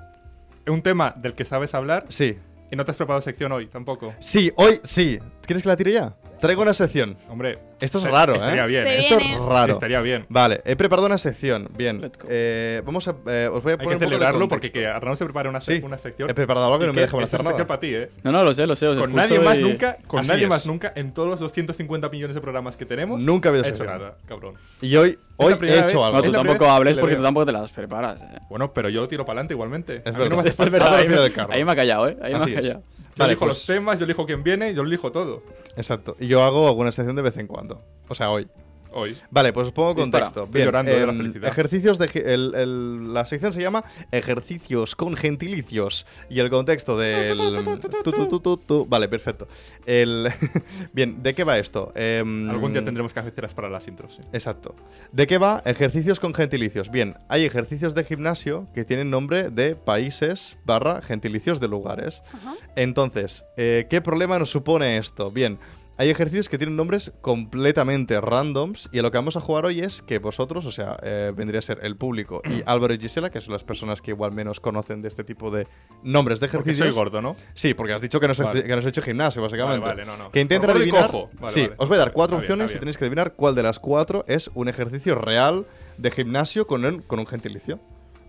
[SPEAKER 1] Es un tema del que sabes hablar
[SPEAKER 3] Sí,
[SPEAKER 1] y no te has preparado sección hoy tampoco.
[SPEAKER 3] sí, hoy sí. ¿Quieres que la tire ya? Traigo una sección.
[SPEAKER 1] Hombre,
[SPEAKER 3] Esto es
[SPEAKER 1] est-
[SPEAKER 3] raro, ¿eh?
[SPEAKER 1] estaría Bien,
[SPEAKER 2] Se
[SPEAKER 1] ¿eh?
[SPEAKER 3] Esto es
[SPEAKER 2] viene.
[SPEAKER 3] raro.
[SPEAKER 1] estaría bien.
[SPEAKER 3] Vale, he preparado una sección. Bien.
[SPEAKER 4] Let's go.
[SPEAKER 3] Eh, vamos a. eh, os voy a
[SPEAKER 1] Hay que
[SPEAKER 3] poner un poco de
[SPEAKER 1] celebrarlo porque
[SPEAKER 3] contexto.
[SPEAKER 1] que Arnau se prepare una, sec-
[SPEAKER 3] Sí,
[SPEAKER 1] una sección.
[SPEAKER 3] He preparado algo que no me deja hacer nada. Pues
[SPEAKER 1] para ti, ¿eh?
[SPEAKER 4] No, no, lo sé, lo sé. os
[SPEAKER 1] Con
[SPEAKER 4] escucho
[SPEAKER 1] nadie más
[SPEAKER 4] y-
[SPEAKER 1] nunca, con
[SPEAKER 3] Así
[SPEAKER 1] nadie
[SPEAKER 3] es.
[SPEAKER 1] más nunca, en todos los 250 millones de programas que tenemos,
[SPEAKER 3] Nunca ha habido
[SPEAKER 1] he hecho
[SPEAKER 3] sección.
[SPEAKER 1] nada, cabrón.
[SPEAKER 3] Y hoy, hoy
[SPEAKER 1] la
[SPEAKER 3] he
[SPEAKER 1] primera
[SPEAKER 3] hecho
[SPEAKER 1] vez.
[SPEAKER 3] algo.
[SPEAKER 4] No,
[SPEAKER 1] Es
[SPEAKER 4] tú
[SPEAKER 1] la
[SPEAKER 4] tampoco
[SPEAKER 1] primera vez
[SPEAKER 4] hables
[SPEAKER 1] que le
[SPEAKER 4] porque
[SPEAKER 1] veo.
[SPEAKER 4] tú tampoco te las preparas. eh. Ah,
[SPEAKER 1] Bueno, pero yo tiro para adelante igualmente. A mí
[SPEAKER 3] verdad.
[SPEAKER 1] no me hace
[SPEAKER 4] Eso es
[SPEAKER 1] falta-
[SPEAKER 4] verdad.
[SPEAKER 3] Ahora
[SPEAKER 4] Ahí
[SPEAKER 3] tira
[SPEAKER 4] me,
[SPEAKER 3] del carro.
[SPEAKER 4] ahí me ha callado, ¿eh? Ahí
[SPEAKER 3] Así
[SPEAKER 4] me ha
[SPEAKER 3] es.
[SPEAKER 4] callado.
[SPEAKER 1] Yo
[SPEAKER 3] Vale,
[SPEAKER 1] elijo los
[SPEAKER 3] pues,
[SPEAKER 1] temas, yo elijo quién viene, yo elijo todo.
[SPEAKER 3] Exacto. Y yo hago alguna sección de vez en cuando. O sea, hoy.
[SPEAKER 1] Hoy.
[SPEAKER 3] Vale, pues os pongo
[SPEAKER 4] Dispara.
[SPEAKER 3] contexto.
[SPEAKER 1] Estoy llorando de la
[SPEAKER 3] em,
[SPEAKER 1] felicidad.
[SPEAKER 3] ejercicios de. gi- el- el- la sección se llama Ejercicios con gentilicios. Y el contexto del. tu, tu, tu, tu, tu. Vale, perfecto. El, bien, ¿de qué va esto? Em,
[SPEAKER 1] Algún día tendremos cabeceras para las intros. sí.
[SPEAKER 3] Exacto. ¿De qué va? Ejercicios con gentilicios. Bien, hay ejercicios de gimnasio que tienen nombre de países barra gentilicios de lugares.
[SPEAKER 2] Ajá.
[SPEAKER 3] Entonces, eh, ¿qué problema nos supone esto? Bien, hay ejercicios que tienen nombres completamente randoms y a lo que vamos a jugar hoy es que vosotros, o sea, eh, vendría a ser el público y Álvaro y Gisela, que son las personas que igual menos conocen de este tipo de nombres de
[SPEAKER 1] Porque
[SPEAKER 3] ejercicios.
[SPEAKER 1] soy gordo, ¿no?
[SPEAKER 3] Sí, porque has dicho que no has,
[SPEAKER 1] Vale.
[SPEAKER 3] que no has hecho gimnasio, básicamente.
[SPEAKER 1] Vale, vale, no, no.
[SPEAKER 3] Que intenten
[SPEAKER 1] Por favor,
[SPEAKER 3] adivinar.
[SPEAKER 1] cojo. Vale,
[SPEAKER 3] sí,
[SPEAKER 1] vale.
[SPEAKER 3] os voy a dar cuatro
[SPEAKER 1] Está bien,
[SPEAKER 3] opciones
[SPEAKER 1] está
[SPEAKER 3] y
[SPEAKER 1] bien.
[SPEAKER 3] tenéis que adivinar cuál de las cuatro es un ejercicio real de gimnasio con un, con un gentilicio.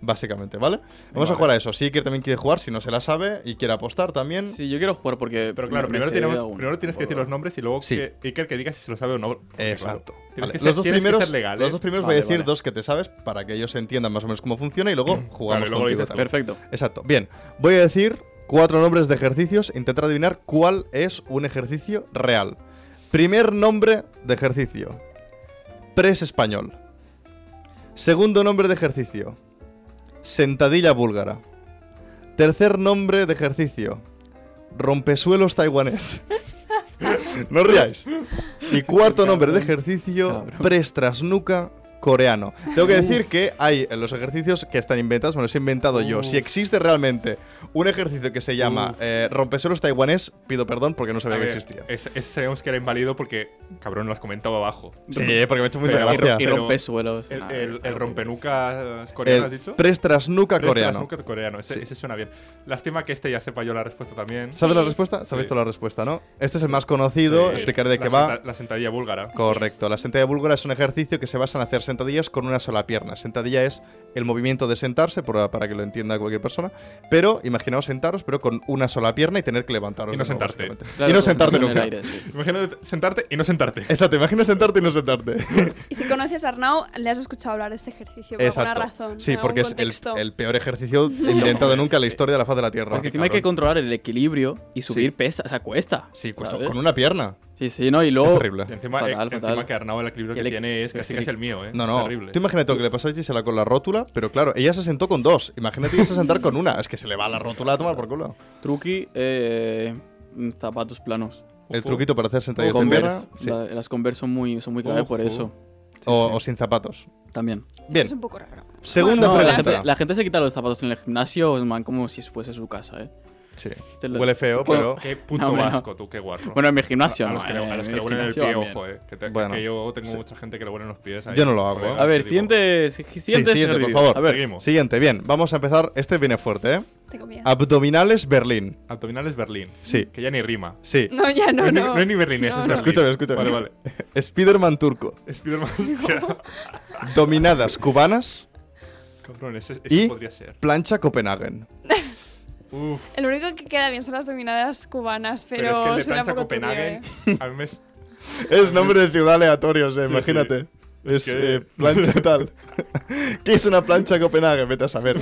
[SPEAKER 3] Básicamente, ¿vale? Vamos a jugar a eso. Si Iker también quiere jugar, si no se la sabe y quiere apostar también.
[SPEAKER 4] Sí, yo quiero jugar porque.
[SPEAKER 1] Mm. Pero claro,
[SPEAKER 4] me- me
[SPEAKER 1] primero,
[SPEAKER 4] sé
[SPEAKER 1] tenemos-
[SPEAKER 4] alguno.
[SPEAKER 1] primero tienes que decir los nombres y luego
[SPEAKER 3] Sí.
[SPEAKER 1] que Iker que diga si se lo sabe o no. Porque,
[SPEAKER 3] Exacto.
[SPEAKER 1] claro,
[SPEAKER 3] Vale,
[SPEAKER 1] tienes que ser-
[SPEAKER 3] Los dos
[SPEAKER 1] tienes que ser
[SPEAKER 3] primeros,
[SPEAKER 1] legal,
[SPEAKER 3] los
[SPEAKER 1] ¿eh?
[SPEAKER 3] dos primeros
[SPEAKER 4] Vale,
[SPEAKER 3] voy a decir
[SPEAKER 4] vale.
[SPEAKER 3] dos que te sabes para que ellos entiendan más o menos cómo funciona y luego jugamos
[SPEAKER 1] Vale, luego
[SPEAKER 3] contigo
[SPEAKER 1] dices
[SPEAKER 3] también.
[SPEAKER 4] Perfecto.
[SPEAKER 3] Exacto. Bien, voy a decir cuatro nombres de ejercicios. Intenta adivinar cuál es un ejercicio real. Primer nombre de ejercicio. Press español. Segundo nombre de ejercicio. Sentadilla búlgara. Tercer nombre de ejercicio. Rompesuelos taiwanés. no os riáis. Y cuarto nombre de ejercicio.
[SPEAKER 4] Cabrón.
[SPEAKER 3] Press trasnuca coreano. Tengo que decir que hay eh, los ejercicios que están inventados, me los he inventado yo. Si existe realmente un ejercicio que se llama eh, rompesuelos taiwanés, pido perdón porque no
[SPEAKER 1] A
[SPEAKER 3] sabía que
[SPEAKER 1] ver,
[SPEAKER 3] existía.
[SPEAKER 1] ese- ese sabemos que era inválido porque, cabrón, lo has comentado abago.
[SPEAKER 4] Ah,
[SPEAKER 3] Sí, porque me ha hecho mucha
[SPEAKER 1] Pero-
[SPEAKER 3] gracia.
[SPEAKER 4] Y
[SPEAKER 1] Pero-
[SPEAKER 4] rompesuelos.
[SPEAKER 1] El,
[SPEAKER 4] Ah,
[SPEAKER 1] el,
[SPEAKER 4] está
[SPEAKER 1] el
[SPEAKER 4] horrible.
[SPEAKER 1] rompenucas coreano,
[SPEAKER 3] El
[SPEAKER 1] ¿has dicho?
[SPEAKER 3] press
[SPEAKER 1] Pero este
[SPEAKER 3] trasnuca
[SPEAKER 1] era
[SPEAKER 3] coreano.
[SPEAKER 1] snooker coreano, ese,
[SPEAKER 3] Sí.
[SPEAKER 1] ese suena bien. Lástima que este ya sepa yo la respuesta también.
[SPEAKER 3] ¿Sabes la
[SPEAKER 2] Sí,
[SPEAKER 3] respuesta? ¿Sabéis
[SPEAKER 1] sí.
[SPEAKER 3] toda la respuesta, no? Este es el más conocido,
[SPEAKER 2] Sí.
[SPEAKER 3] explicaré de
[SPEAKER 1] La
[SPEAKER 3] qué va.
[SPEAKER 1] senta- la sentadilla búlgara.
[SPEAKER 3] Correcto, la sentadilla búlgara es un ejercicio que se basa en hacer sentadillas con una sola pierna. Sentadilla es el movimiento de sentarse, por- para que lo entienda cualquier persona, pero imaginaos sentaros, pero con una sola pierna y tener que levantaros.
[SPEAKER 1] Y no
[SPEAKER 3] de nuevo,
[SPEAKER 1] sentarte.
[SPEAKER 3] básicamente.
[SPEAKER 4] Claro,
[SPEAKER 3] y no
[SPEAKER 4] pues,
[SPEAKER 3] sentarte
[SPEAKER 4] en el
[SPEAKER 3] nunca.
[SPEAKER 4] aire, sí.
[SPEAKER 1] Imagínate sentarte y no sentarte.
[SPEAKER 3] Exacto, imagina sentarte y no sentarte.
[SPEAKER 2] Y si conoces a Arnau, le has escuchado hablar de este ejercicio por
[SPEAKER 3] Exacto.
[SPEAKER 2] alguna razón.
[SPEAKER 3] Sí,
[SPEAKER 2] en
[SPEAKER 3] porque
[SPEAKER 2] algún
[SPEAKER 3] es el,
[SPEAKER 2] contexto.
[SPEAKER 3] el peor ejercicio inventado nunca en la historia de la faz de la Tierra.
[SPEAKER 4] Porque encima hay que
[SPEAKER 3] Cabrón.
[SPEAKER 4] controlar el equilibrio y subir pesa, o sea, cuesta.
[SPEAKER 3] Sí, pues,
[SPEAKER 4] ¿sabes?
[SPEAKER 3] con una pierna.
[SPEAKER 4] Sí, sí, no, y luego.
[SPEAKER 3] es terrible.
[SPEAKER 1] Y encima,
[SPEAKER 4] Fatal,
[SPEAKER 1] eh, encima
[SPEAKER 4] fatal.
[SPEAKER 1] que Arnau el equilibrio
[SPEAKER 4] Y
[SPEAKER 1] que
[SPEAKER 4] el equ-
[SPEAKER 1] tiene es casi
[SPEAKER 4] el
[SPEAKER 1] casi
[SPEAKER 4] equilib-
[SPEAKER 1] el mío, ¿eh?
[SPEAKER 3] No, no.
[SPEAKER 1] Terrible.
[SPEAKER 3] Tú imagínate lo que le pasó a Gisela con la rótula, pero claro, ella se sentó con dos. Imagínate irse a sentar con una. Es que se le va la rótula a tomar por culo.
[SPEAKER 4] Truqui, eh, mm, zapatos planos.
[SPEAKER 3] El
[SPEAKER 1] Ujú.
[SPEAKER 3] truquito para hacer sentadillas en tierra
[SPEAKER 4] Converse.
[SPEAKER 3] sí.
[SPEAKER 4] la- las Converse son muy, son muy clave por
[SPEAKER 1] Ojo.
[SPEAKER 4] eso.
[SPEAKER 3] o, o sin zapatos.
[SPEAKER 4] También.
[SPEAKER 2] Eso
[SPEAKER 3] Bien,
[SPEAKER 2] Es un poco raro.
[SPEAKER 3] segunda
[SPEAKER 4] No, la,
[SPEAKER 3] pregunta.
[SPEAKER 4] gente, la gente se quita los zapatos en el gimnasio, man, como si fuese su casa, ¿eh?
[SPEAKER 3] Sí.
[SPEAKER 4] Te lo-
[SPEAKER 3] Huele feo, pero.
[SPEAKER 1] Qué puto
[SPEAKER 4] No, hombre, no.
[SPEAKER 1] asco, tú, qué guarro.
[SPEAKER 4] Bueno, en mi gimnasio,
[SPEAKER 1] a, a
[SPEAKER 4] no,
[SPEAKER 1] los que,
[SPEAKER 4] eh,
[SPEAKER 1] le- a los
[SPEAKER 4] en
[SPEAKER 1] que
[SPEAKER 4] mi
[SPEAKER 1] le huelen el
[SPEAKER 4] gimnasio
[SPEAKER 1] pie,
[SPEAKER 4] van bien.
[SPEAKER 1] ojo, eh. Que, te-
[SPEAKER 3] Bueno,
[SPEAKER 1] que yo tengo
[SPEAKER 3] sí.
[SPEAKER 1] mucha gente que le huelen los pies. ahí,
[SPEAKER 3] Yo no lo hago,
[SPEAKER 1] colegas,
[SPEAKER 3] eh.
[SPEAKER 4] A ver,
[SPEAKER 1] te digo.
[SPEAKER 4] siguiente, si-
[SPEAKER 3] Sí,
[SPEAKER 4] siguiente,
[SPEAKER 3] siguiente, por
[SPEAKER 4] ejercicio.
[SPEAKER 3] favor.
[SPEAKER 4] A ver,
[SPEAKER 1] Seguimos.
[SPEAKER 3] Siguiente, bien. Vamos a empezar. Este viene fuerte, ¿eh?
[SPEAKER 2] Tengo miedo.
[SPEAKER 3] Abdominales Berlín.
[SPEAKER 1] Abdominales Berlín.
[SPEAKER 3] Sí.
[SPEAKER 1] Que ya ni rima.
[SPEAKER 3] Sí.
[SPEAKER 2] No, ya no,
[SPEAKER 1] es ni-
[SPEAKER 2] no.
[SPEAKER 1] no es ni berlinés,
[SPEAKER 2] No,
[SPEAKER 1] es
[SPEAKER 2] no.
[SPEAKER 1] berlín.
[SPEAKER 3] Escúchame, escúchame.
[SPEAKER 1] Vale, vale.
[SPEAKER 3] Spiderman turco.
[SPEAKER 1] Spiderman.
[SPEAKER 3] Dominadas cubanas.
[SPEAKER 1] Cabrón, ese, ese
[SPEAKER 3] Y
[SPEAKER 1] podría ser.
[SPEAKER 3] plancha Copenhagen.
[SPEAKER 1] Uf.
[SPEAKER 2] El único que queda bien son las dominadas cubanas, pero,
[SPEAKER 1] Pero, es que el de
[SPEAKER 2] suena
[SPEAKER 1] plancha
[SPEAKER 2] poco turbio,
[SPEAKER 1] Copenhagen,
[SPEAKER 2] ¿eh?
[SPEAKER 1] a mí me. es-
[SPEAKER 3] Es nombre de ciudad aleatorios, eh,
[SPEAKER 1] Sí,
[SPEAKER 3] imagínate.
[SPEAKER 1] sí.
[SPEAKER 3] Es
[SPEAKER 1] Que-
[SPEAKER 3] eh, plancha tal. ¿Qué es una plancha Copenhague? Vete a saber.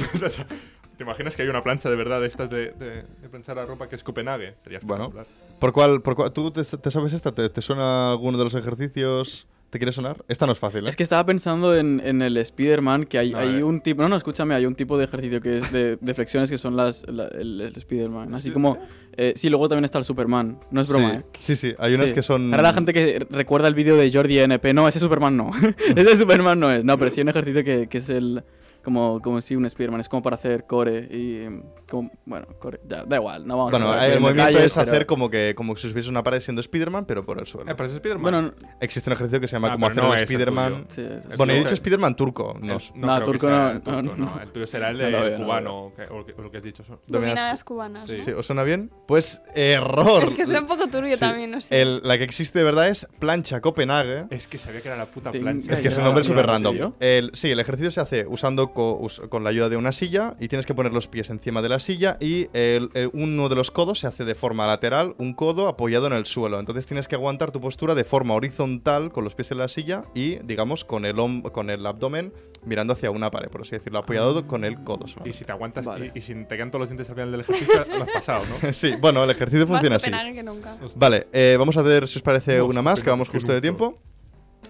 [SPEAKER 1] ¿Te imaginas que hay una plancha de verdad de estas de, de, de planchar la ropa que es Copenhague? Sería
[SPEAKER 3] Bueno.
[SPEAKER 1] espectacular.
[SPEAKER 3] ¿Por cuál? Por cuál- ¿Tú te, te sabes esta? ¿Te, te suena alguno de los ejercicios? ¿Te quiere sonar? Esta no es fácil, ¿eh?
[SPEAKER 4] Es que estaba pensando en, en el Spider-Man, que hay,
[SPEAKER 1] A
[SPEAKER 4] hay
[SPEAKER 1] ver.
[SPEAKER 4] un tipo... No, no, escúchame, hay un tipo de ejercicio que es de, de flexiones que son las, la- el, el Spider-Man. Así como... eh, sí, luego también está el Superman. No es broma, ¿eh?
[SPEAKER 3] sí, sí, sí, hay unas
[SPEAKER 4] Sí.
[SPEAKER 3] que son.
[SPEAKER 4] Ahora la gente que recuerda el vídeo de Jordi NP, no, ese Superman no. ese Superman no es. No, pero sí hay un ejercicio que, que es el. Como, como si un Spiderman, es como para hacer core y. mm, como- bueno, core. Ya, da igual, no vamos
[SPEAKER 3] Bueno,
[SPEAKER 4] a
[SPEAKER 3] el movimiento es hacer
[SPEAKER 4] como
[SPEAKER 3] como que como si subiese una pared siendo Spiderman, pero por el suelo.
[SPEAKER 1] Eh, pero es Spiderman.
[SPEAKER 4] Bueno, no-
[SPEAKER 3] Existe un ejercicio que se llama
[SPEAKER 1] Ah,
[SPEAKER 3] como
[SPEAKER 1] pero
[SPEAKER 3] hacer
[SPEAKER 1] no
[SPEAKER 3] un
[SPEAKER 1] es el
[SPEAKER 3] Spiderman.
[SPEAKER 4] sí, sí, sí.
[SPEAKER 3] Bueno, he
[SPEAKER 1] No,
[SPEAKER 3] dicho
[SPEAKER 1] el-
[SPEAKER 3] Spiderman turco.
[SPEAKER 1] El-
[SPEAKER 3] No.
[SPEAKER 4] No,
[SPEAKER 1] creo que
[SPEAKER 4] turco
[SPEAKER 1] sea
[SPEAKER 4] no,
[SPEAKER 1] turco,
[SPEAKER 4] no, no.
[SPEAKER 1] El tuyo será el
[SPEAKER 4] No
[SPEAKER 1] de
[SPEAKER 4] lo veo, no lo
[SPEAKER 1] cubano o que- o lo que- o lo que has dicho.
[SPEAKER 2] Dominadas cubanas.
[SPEAKER 1] Sí.
[SPEAKER 2] ¿no?
[SPEAKER 3] Ah, Sí, ¿Os suena bien? Pues error.
[SPEAKER 2] Es que suena un poco turbio
[SPEAKER 3] Sí.
[SPEAKER 2] también, no sé.
[SPEAKER 3] El- la que existe de verdad es plancha Copenhague.
[SPEAKER 1] Es que sabía que era la puta
[SPEAKER 4] Tengo-
[SPEAKER 1] plancha.
[SPEAKER 3] Es que es un
[SPEAKER 4] ya,
[SPEAKER 3] nombre
[SPEAKER 4] ya,
[SPEAKER 3] súper
[SPEAKER 4] ¿en
[SPEAKER 3] random.
[SPEAKER 4] serio?
[SPEAKER 3] El, sí, el ejercicio se hace usando co- us- con la ayuda de una silla y tienes que poner los pies encima de la silla y el- el- uno de los codos se hace de forma lateral, un codo apoyado en el suelo. Entonces tienes que aguantar tu postura de forma horizontal con los pies en la silla y, digamos, con el, hom- con el abdomen mirando hacia una pared, por así decirlo, apoyado con el codo. solamente.
[SPEAKER 1] Y si te aguantas
[SPEAKER 4] Vale.
[SPEAKER 1] y, y si te quedan todos los dientes al final del ejercicio, lo has pasado, ¿no?
[SPEAKER 3] Sí, bueno, el ejercicio
[SPEAKER 2] Más
[SPEAKER 3] funciona así.
[SPEAKER 2] Copenhagen que nunca.
[SPEAKER 3] Vale, eh, vamos a hacer, si os parece,
[SPEAKER 1] Vamos,
[SPEAKER 3] una más, que
[SPEAKER 1] venga,
[SPEAKER 3] vamos
[SPEAKER 1] qué
[SPEAKER 3] justo de
[SPEAKER 1] susto.
[SPEAKER 3] tiempo.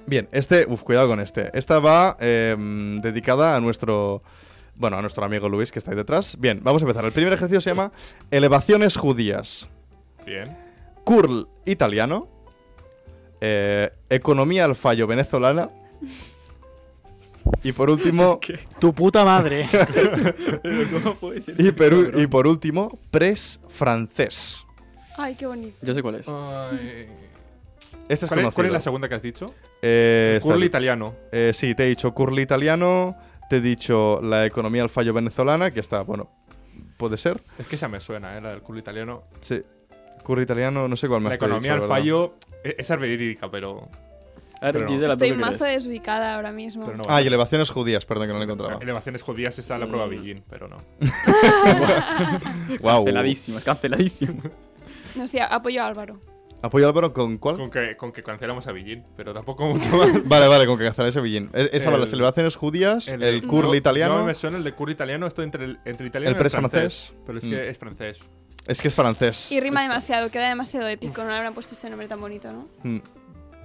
[SPEAKER 3] Bien, este, uff, cuidado con este. Esta va eh, mm, dedicada a nuestro, bueno, a nuestro amigo Luis, que está ahí detrás. Bien, vamos a empezar. El primer ejercicio se llama Elevaciones Judías,
[SPEAKER 1] Bien.
[SPEAKER 3] Curl Italiano, eh, Economía al Fallo Venezolana y por último,
[SPEAKER 5] Tu puta madre.
[SPEAKER 4] ¿Cómo puede ser?
[SPEAKER 3] y, Perú- y por último, Press Francés.
[SPEAKER 2] Ay, qué bonito.
[SPEAKER 4] Yo sé cuál
[SPEAKER 5] Oh.
[SPEAKER 4] es.
[SPEAKER 3] Este es
[SPEAKER 1] ¿Cuál, es,
[SPEAKER 3] conocido.
[SPEAKER 1] cuál es la segunda que has dicho?
[SPEAKER 3] Eh,
[SPEAKER 1] Curly
[SPEAKER 3] espérate.
[SPEAKER 1] italiano.
[SPEAKER 3] Eh, sí, te he dicho curly italiano, te he dicho la economía al fallo venezolana, que está, bueno, puede ser.
[SPEAKER 1] Es que esa me suena, ¿eh? La del curly italiano.
[SPEAKER 3] Sí. Curly italiano, no sé cuál más
[SPEAKER 1] La
[SPEAKER 3] te he
[SPEAKER 1] economía
[SPEAKER 3] dicho,
[SPEAKER 1] al
[SPEAKER 3] ¿verdad?
[SPEAKER 1] fallo. e- Esa es verídica, pero.
[SPEAKER 4] A ver,
[SPEAKER 1] Pero no.
[SPEAKER 4] Gisela, ¿tú
[SPEAKER 2] Estoy
[SPEAKER 4] qué
[SPEAKER 2] Este mazo
[SPEAKER 4] crees?
[SPEAKER 2] desubicada ahora mismo.
[SPEAKER 1] Pero no
[SPEAKER 3] Ah, y elevaciones judías, perdón que no lo encontraba.
[SPEAKER 1] Elevaciones judías esa la
[SPEAKER 4] Mm.
[SPEAKER 1] prueba Beijing, pero no.
[SPEAKER 3] Wow.
[SPEAKER 4] Canceladísimo, es canceladísimo.
[SPEAKER 2] No sé, apoyo a Álvaro.
[SPEAKER 3] Apoyo a Álvaro con cuál?
[SPEAKER 1] Con que, con que cancelamos a Beijing, pero tampoco mucho más.
[SPEAKER 3] Vale, vale, con que cancelar ese billín. E- Esa va,
[SPEAKER 1] El-
[SPEAKER 3] las elevaciones judías, el,
[SPEAKER 1] de-
[SPEAKER 3] curl
[SPEAKER 1] yo-
[SPEAKER 3] italiano.
[SPEAKER 1] yo me suena el de curl italiano, estoy entre el, entre italiano
[SPEAKER 3] El
[SPEAKER 1] y
[SPEAKER 3] press francés.
[SPEAKER 1] Pero es
[SPEAKER 3] Mm.
[SPEAKER 1] que es francés.
[SPEAKER 3] Es que es francés.
[SPEAKER 2] Y rima demasiado, queda demasiado épico. No le habrán puesto este nombre tan bonito, ¿no?
[SPEAKER 3] Mm,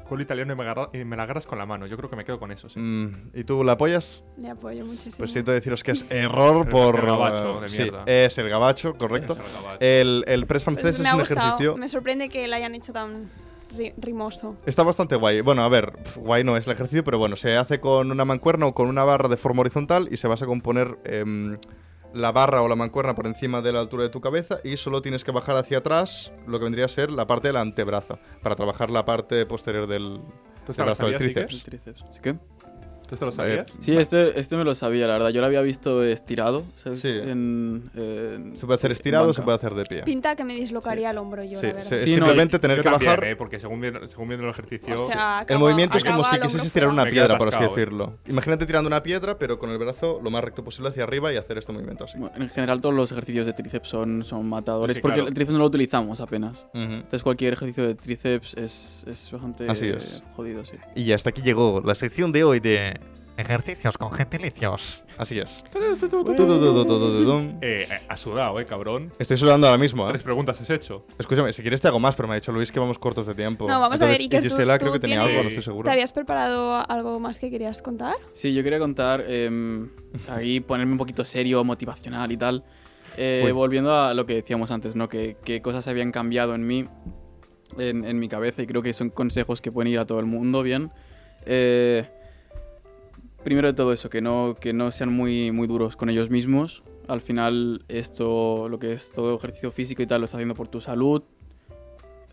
[SPEAKER 1] Curl italiano y me, agarra- y me la agarras con la mano. Yo creo que me quedo con eso, sí.
[SPEAKER 3] mm, ¿Y tú la apoyas?
[SPEAKER 2] Le apoyo muchísimo.
[SPEAKER 3] Pues siento deciros que es error
[SPEAKER 1] El
[SPEAKER 3] por.
[SPEAKER 1] gabacho
[SPEAKER 3] eh,
[SPEAKER 1] de
[SPEAKER 3] sí,
[SPEAKER 1] mierda.
[SPEAKER 3] es el gabacho, correcto. Eh,
[SPEAKER 1] Es el gabacho.
[SPEAKER 3] El, el press
[SPEAKER 2] Pues
[SPEAKER 3] francés
[SPEAKER 2] me
[SPEAKER 3] es
[SPEAKER 2] ha
[SPEAKER 3] un
[SPEAKER 2] gustado.
[SPEAKER 3] ejercicio.
[SPEAKER 2] Me sorprende que lo hayan hecho tan ri- rimoso.
[SPEAKER 3] Está bastante guay. Bueno, a ver, pf, guay no es el ejercicio, pero bueno, se hace con una mancuerna o con una barra de forma horizontal y se vas a componer em, la barra o la mancuerna por encima de la altura de tu cabeza y solo tienes que bajar hacia atrás lo que vendría a ser la parte del antebrazo para trabajar la parte posterior del,
[SPEAKER 1] ¿Tú
[SPEAKER 3] del
[SPEAKER 1] te la
[SPEAKER 3] brazo del
[SPEAKER 1] sabías, Iker?
[SPEAKER 3] tríceps.
[SPEAKER 4] ¿Qué?
[SPEAKER 1] ¿Tú esto lo sabías?
[SPEAKER 3] Eh,
[SPEAKER 4] Sí, este, este me lo sabía, la verdad. Yo lo había visto estirado. ¿sabes?
[SPEAKER 3] Sí.
[SPEAKER 4] En, en-
[SPEAKER 3] Se puede hacer
[SPEAKER 4] en
[SPEAKER 3] estirado o
[SPEAKER 4] banca.
[SPEAKER 3] se puede hacer de pie.
[SPEAKER 2] Pinta que me dislocaría el hombro yo,
[SPEAKER 3] Sí,
[SPEAKER 2] la verdad.
[SPEAKER 3] se-
[SPEAKER 4] Sí, no,
[SPEAKER 3] simplemente tener
[SPEAKER 1] Yo
[SPEAKER 3] que
[SPEAKER 1] también,
[SPEAKER 3] bajar.
[SPEAKER 1] eh, porque según viendo, según viendo el ejercicio...
[SPEAKER 2] O sea,
[SPEAKER 3] el
[SPEAKER 2] acaba-
[SPEAKER 3] movimiento es como
[SPEAKER 2] acaba
[SPEAKER 3] si
[SPEAKER 2] el hombro
[SPEAKER 3] quisiese estirar
[SPEAKER 2] fuera.
[SPEAKER 3] una
[SPEAKER 1] Me quedé
[SPEAKER 3] piedra, por así
[SPEAKER 1] atascado, eh.
[SPEAKER 3] decirlo. Imagínate tirando una piedra, pero con el brazo lo más recto posible hacia arriba y hacer este movimiento así.
[SPEAKER 4] Bueno, en general todos los ejercicios de tríceps son, son matadores
[SPEAKER 1] Sí,
[SPEAKER 4] porque
[SPEAKER 1] claro.
[SPEAKER 4] el tríceps no lo utilizamos apenas.
[SPEAKER 2] Mm.
[SPEAKER 3] Ujú.
[SPEAKER 4] Entonces cualquier ejercicio de tríceps es, es bastante
[SPEAKER 3] Así es.
[SPEAKER 4] eh, jodido, sí.
[SPEAKER 3] Y hasta aquí llegó la sección de hoy de
[SPEAKER 5] Ejercicios con gentilicios.
[SPEAKER 3] Así es. Tududududududum.
[SPEAKER 1] Eh, eh, ha sudado, eh, cabrón.
[SPEAKER 3] Estoy sudando ahora mismo,
[SPEAKER 1] Tres
[SPEAKER 3] ¿eh?
[SPEAKER 1] preguntas has hecho.
[SPEAKER 3] Escúchame, si quieres te hago más, pero me ha dicho Luis que vamos cortos de tiempo.
[SPEAKER 2] No, vamos a ver,
[SPEAKER 3] Entonces,
[SPEAKER 2] Iker,
[SPEAKER 3] y
[SPEAKER 2] tú-
[SPEAKER 3] Gisela
[SPEAKER 2] tú
[SPEAKER 3] creo que tenía
[SPEAKER 2] tienes-
[SPEAKER 3] algo, no estoy seguro.
[SPEAKER 2] ¿Te habías preparado algo más que querías contar?
[SPEAKER 4] Sí, yo quería contar, eh, ahí ponerme un poquito serio, motivacional y tal. Eh,
[SPEAKER 3] Uy.
[SPEAKER 4] volviendo a lo que decíamos antes, ¿no? Que, que cosas habían cambiado en mí, en, en mi cabeza, y creo que son consejos que pueden ir a todo el mundo bien. Eh, primero de todo eso, que no, que no sean muy, muy duros con ellos mismos. Al final, esto, lo que es todo ejercicio físico y tal, lo estás haciendo por tu salud.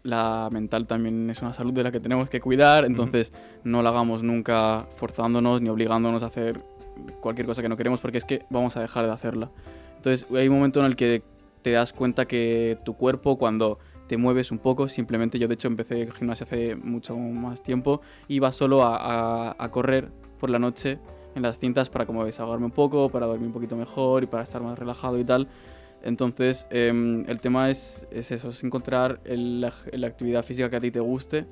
[SPEAKER 4] La mental también es una salud de la que tenemos que cuidar, entonces no la hagamos nunca forzándonos ni obligándonos a hacer cualquier cosa que no queremos porque es que vamos a dejar de hacerla. Entonces hay un momento en el que te das cuenta que tu cuerpo cuando te mueves un poco, simplemente yo de hecho empecé el gimnasio hace mucho más tiempo, iba solo a, a- a correr por la noche en las cintas para como desahogarme un poco, para dormir un poquito mejor y para estar más relajado y tal. Entonces em, el tema es, es eso, es encontrar el- la, la actividad física que a ti te guste,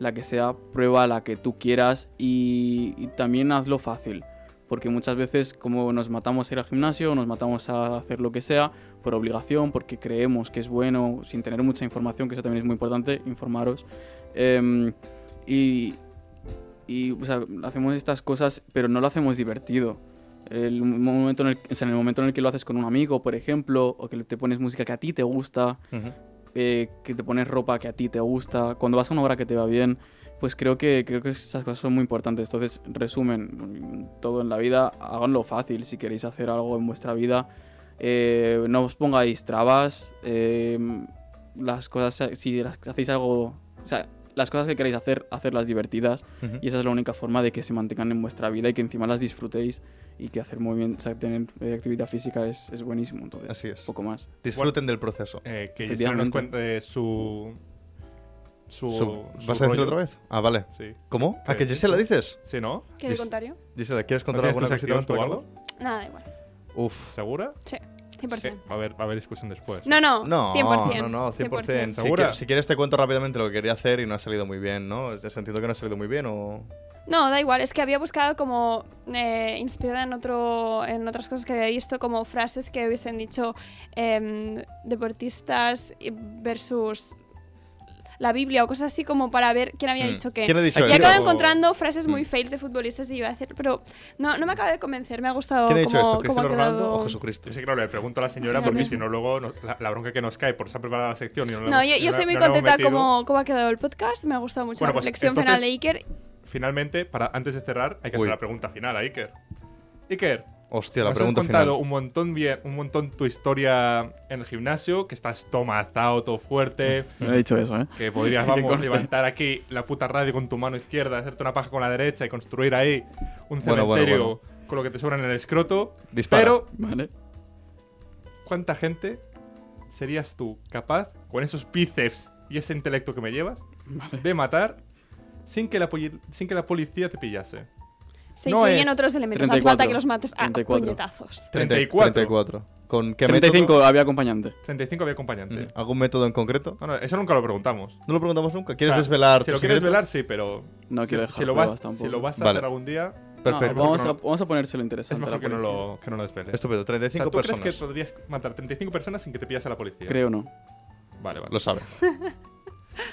[SPEAKER 4] la que sea, prueba la que tú quieras y, y también hazlo fácil. Porque muchas veces como nos matamos a ir al gimnasio, nos matamos a hacer lo que sea, por obligación, porque creemos que es bueno, sin tener mucha información, que eso también es muy importante, informaros. Em, y, y, o sea, hacemos estas cosas, pero no lo hacemos divertido. El momento en el, o sea, en el momento en el que lo haces con un amigo, por ejemplo, o que te pones música que a ti te gusta,
[SPEAKER 3] Ujú.
[SPEAKER 4] eh, que te pones ropa que a ti te gusta, cuando vas a una hora que te va bien, pues creo que, creo que esas cosas son muy importantes. Entonces, resumen, mm, todo en la vida, háganlo fácil si queréis hacer algo en vuestra vida. eh, no os pongáis trabas. eh, las cosas, si las hacéis algo, o sea, las cosas que queréis hacer, hacerlas divertidas.
[SPEAKER 3] Ujú.
[SPEAKER 4] Y esa es la única forma de que se mantengan en vuestra vida y que encima las disfrutéis y que hacer movimiento, o sea, tener eh, actividad física es, es buenísimo. Entonces,
[SPEAKER 3] Así es.
[SPEAKER 4] poco más.
[SPEAKER 3] Disfruten del proceso.
[SPEAKER 1] Eh, que Gisela nos
[SPEAKER 4] Efectivamente.
[SPEAKER 1] cuente su... Su...
[SPEAKER 3] Su-
[SPEAKER 1] su
[SPEAKER 3] ¿Vas a decirlo
[SPEAKER 1] rollo.
[SPEAKER 3] otra vez? Ah, vale.
[SPEAKER 1] Sí.
[SPEAKER 3] ¿Cómo? ¿A
[SPEAKER 1] ¿Qué?
[SPEAKER 3] que Gisela dices?
[SPEAKER 1] ¿Sí, no?
[SPEAKER 2] ¿Qué de
[SPEAKER 3] Dis-
[SPEAKER 2] contrario?
[SPEAKER 3] Gisela, ¿quieres
[SPEAKER 1] ¿No
[SPEAKER 3] contar
[SPEAKER 1] tienes tu
[SPEAKER 3] alguna cosita
[SPEAKER 1] sección
[SPEAKER 3] más
[SPEAKER 1] tú
[SPEAKER 3] por
[SPEAKER 1] o algo?
[SPEAKER 3] acá?
[SPEAKER 2] Nada, da igual.
[SPEAKER 3] Uf.
[SPEAKER 1] ¿Segura?
[SPEAKER 2] Sí, 100%.
[SPEAKER 1] Sí, Va a haber, va a haber discusión después.
[SPEAKER 2] No, no,
[SPEAKER 3] No,
[SPEAKER 2] 100%.
[SPEAKER 3] no, no, 100%. Si,
[SPEAKER 1] ¿Segura?
[SPEAKER 3] quieres- si quieres te cuento rápidamente lo que quería hacer y no ha salido muy bien, ¿no? Entiendo que no ha salido muy bien o...
[SPEAKER 2] No, da igual, es que había buscado como eh, inspirada en, otro, en otras cosas que había visto, como frases que hubiesen dicho em, deportistas y- versus la Biblia o cosas así como para ver quién había
[SPEAKER 3] Mm.
[SPEAKER 2] dicho qué.
[SPEAKER 3] ¿Quién ha dicho
[SPEAKER 2] y
[SPEAKER 3] eso?
[SPEAKER 2] acabo
[SPEAKER 1] Pero-
[SPEAKER 2] encontrando frases muy
[SPEAKER 3] Mm.
[SPEAKER 2] fails de futbolistas y iba a decir, pero no, no me acaba de convencer, me ha gustado
[SPEAKER 3] ¿Quién ha
[SPEAKER 2] como
[SPEAKER 3] dicho
[SPEAKER 2] Oh,
[SPEAKER 3] esto?
[SPEAKER 2] cómo
[SPEAKER 3] ¿Cristiano
[SPEAKER 2] ha quedado...
[SPEAKER 3] Ronaldo o Jesucristo?
[SPEAKER 1] Yo sé que no le pregunto a la señora
[SPEAKER 2] No,
[SPEAKER 1] porque
[SPEAKER 2] no.
[SPEAKER 1] si no luego nos- la, la bronca que nos cae por se ha preparado la sección y no, la
[SPEAKER 2] No, yo,
[SPEAKER 1] hemos-
[SPEAKER 2] yo
[SPEAKER 1] no
[SPEAKER 2] estoy
[SPEAKER 1] la-
[SPEAKER 2] muy
[SPEAKER 1] no la hemos
[SPEAKER 2] contenta
[SPEAKER 1] metido.
[SPEAKER 2] cómo, cómo ha quedado el podcast, me ha gustado mucho
[SPEAKER 1] Bueno,
[SPEAKER 2] la
[SPEAKER 1] pues,
[SPEAKER 2] reflexión
[SPEAKER 1] entonces-
[SPEAKER 2] final de Iker.
[SPEAKER 1] Finalmente, para, antes de cerrar, hay que
[SPEAKER 3] Uy.
[SPEAKER 1] hacer la pregunta final a Iker. Iker,
[SPEAKER 3] Hostia, la
[SPEAKER 1] nos
[SPEAKER 3] pregunta
[SPEAKER 1] has contado
[SPEAKER 3] final.
[SPEAKER 1] un montón bien, un montón tu historia en el gimnasio, que estás tomazado, todo fuerte,
[SPEAKER 4] No he dicho eso, ¿eh?
[SPEAKER 1] que podrías
[SPEAKER 4] Que
[SPEAKER 1] vamos,
[SPEAKER 4] conste.
[SPEAKER 1] levantar aquí la puta radio con tu mano izquierda, hacerte una paja con la derecha y construir ahí un
[SPEAKER 3] Bueno,
[SPEAKER 1] cementerio
[SPEAKER 3] bueno,
[SPEAKER 1] con lo que te sobra en el escroto.
[SPEAKER 3] Dispara.
[SPEAKER 1] Pero,
[SPEAKER 4] Vale.
[SPEAKER 1] ¿cuánta gente serías tú capaz, con esos bíceps y ese intelecto que me llevas, de matar sin que la, poli- sin que la policía te pillase.
[SPEAKER 2] Se
[SPEAKER 1] No
[SPEAKER 2] incluyen
[SPEAKER 1] es-
[SPEAKER 2] otros elementos. No hace
[SPEAKER 4] 34.
[SPEAKER 2] falta que los mates a
[SPEAKER 4] 34.
[SPEAKER 2] puñetazos.
[SPEAKER 1] 34.
[SPEAKER 3] 34. ¿Con qué
[SPEAKER 4] 35
[SPEAKER 3] método?
[SPEAKER 4] había acompañante.
[SPEAKER 1] 35 había acompañante.
[SPEAKER 3] Mm, ¿Algún método en concreto?
[SPEAKER 1] No, no, eso nunca lo preguntamos.
[SPEAKER 3] No lo preguntamos nunca.
[SPEAKER 1] O
[SPEAKER 3] ¿Quieres
[SPEAKER 1] sea,
[SPEAKER 3] desvelar?
[SPEAKER 1] Si
[SPEAKER 3] tu
[SPEAKER 1] lo quieres
[SPEAKER 3] secreto?
[SPEAKER 1] velar, sí, pero.
[SPEAKER 4] No
[SPEAKER 1] si-
[SPEAKER 4] quiero
[SPEAKER 1] si,
[SPEAKER 4] dejar
[SPEAKER 1] lo
[SPEAKER 4] pruebas
[SPEAKER 1] vas,
[SPEAKER 4] tampoco.
[SPEAKER 1] si lo vas a
[SPEAKER 3] Vale.
[SPEAKER 1] hacer algún día,
[SPEAKER 3] Perfecto.
[SPEAKER 4] No, vamos,
[SPEAKER 1] No,
[SPEAKER 4] a, vamos a ponérselo
[SPEAKER 1] es
[SPEAKER 4] interesante. a la
[SPEAKER 1] mejor que no,
[SPEAKER 4] policía.
[SPEAKER 1] lo, que no lo desveles.
[SPEAKER 3] Estupendo.
[SPEAKER 1] O sea,
[SPEAKER 3] 35
[SPEAKER 1] ¿Tú crees que
[SPEAKER 3] personas.
[SPEAKER 1] podrías matar 35 personas sin que te pillas a la policía?
[SPEAKER 4] Creo no.
[SPEAKER 1] Vale, vale.
[SPEAKER 3] Lo sabes.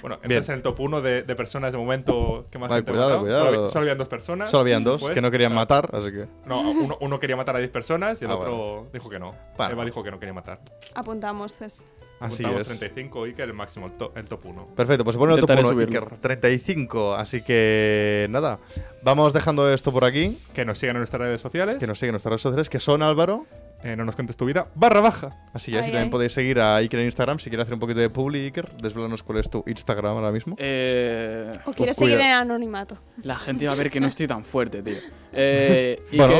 [SPEAKER 1] Bueno, entras
[SPEAKER 3] Bien.
[SPEAKER 1] en el top 1 de, de personas de momento que más
[SPEAKER 3] Vale,
[SPEAKER 1] gente ha
[SPEAKER 3] cuidado,
[SPEAKER 1] matado.
[SPEAKER 3] cuidado.
[SPEAKER 1] Solo, había- solo habían dos personas.
[SPEAKER 3] Solo habían dos
[SPEAKER 1] Pues,
[SPEAKER 3] que no querían
[SPEAKER 1] ah,
[SPEAKER 3] matar, así que.
[SPEAKER 1] No, uno, uno quería matar a 10 personas y el
[SPEAKER 3] Ah,
[SPEAKER 1] otro dijo que no.
[SPEAKER 3] Vale.
[SPEAKER 1] Eva dijo que no quería matar.
[SPEAKER 2] Apuntamos, pues.
[SPEAKER 3] Así
[SPEAKER 1] Apuntamos
[SPEAKER 3] es.
[SPEAKER 1] 35 y que el máximo, el, to- el top 1.
[SPEAKER 3] Perfecto, pues se pone el top
[SPEAKER 4] Intentaré
[SPEAKER 3] 1
[SPEAKER 4] subirlo.
[SPEAKER 3] Iker, 35. Así que nada, vamos dejando esto por aquí.
[SPEAKER 1] Que nos sigan en nuestras redes sociales.
[SPEAKER 3] Que nos siguen nuestras redes sociales, que son Álvaro.
[SPEAKER 1] eh, no nos cuentes tu vida. Barra baja.
[SPEAKER 3] Así es,
[SPEAKER 2] Ay,
[SPEAKER 3] y también
[SPEAKER 2] ay.
[SPEAKER 3] podéis seguir a Iker en Instagram si quieres hacer un poquito de publi, Iker. Desvelanos cuál es tu Instagram ahora mismo.
[SPEAKER 4] Eh,
[SPEAKER 2] O quieres
[SPEAKER 3] cuida.
[SPEAKER 2] seguir en anonimato.
[SPEAKER 4] la gente va a ver que no estoy tan fuerte, tío. Eh,
[SPEAKER 3] Bueno,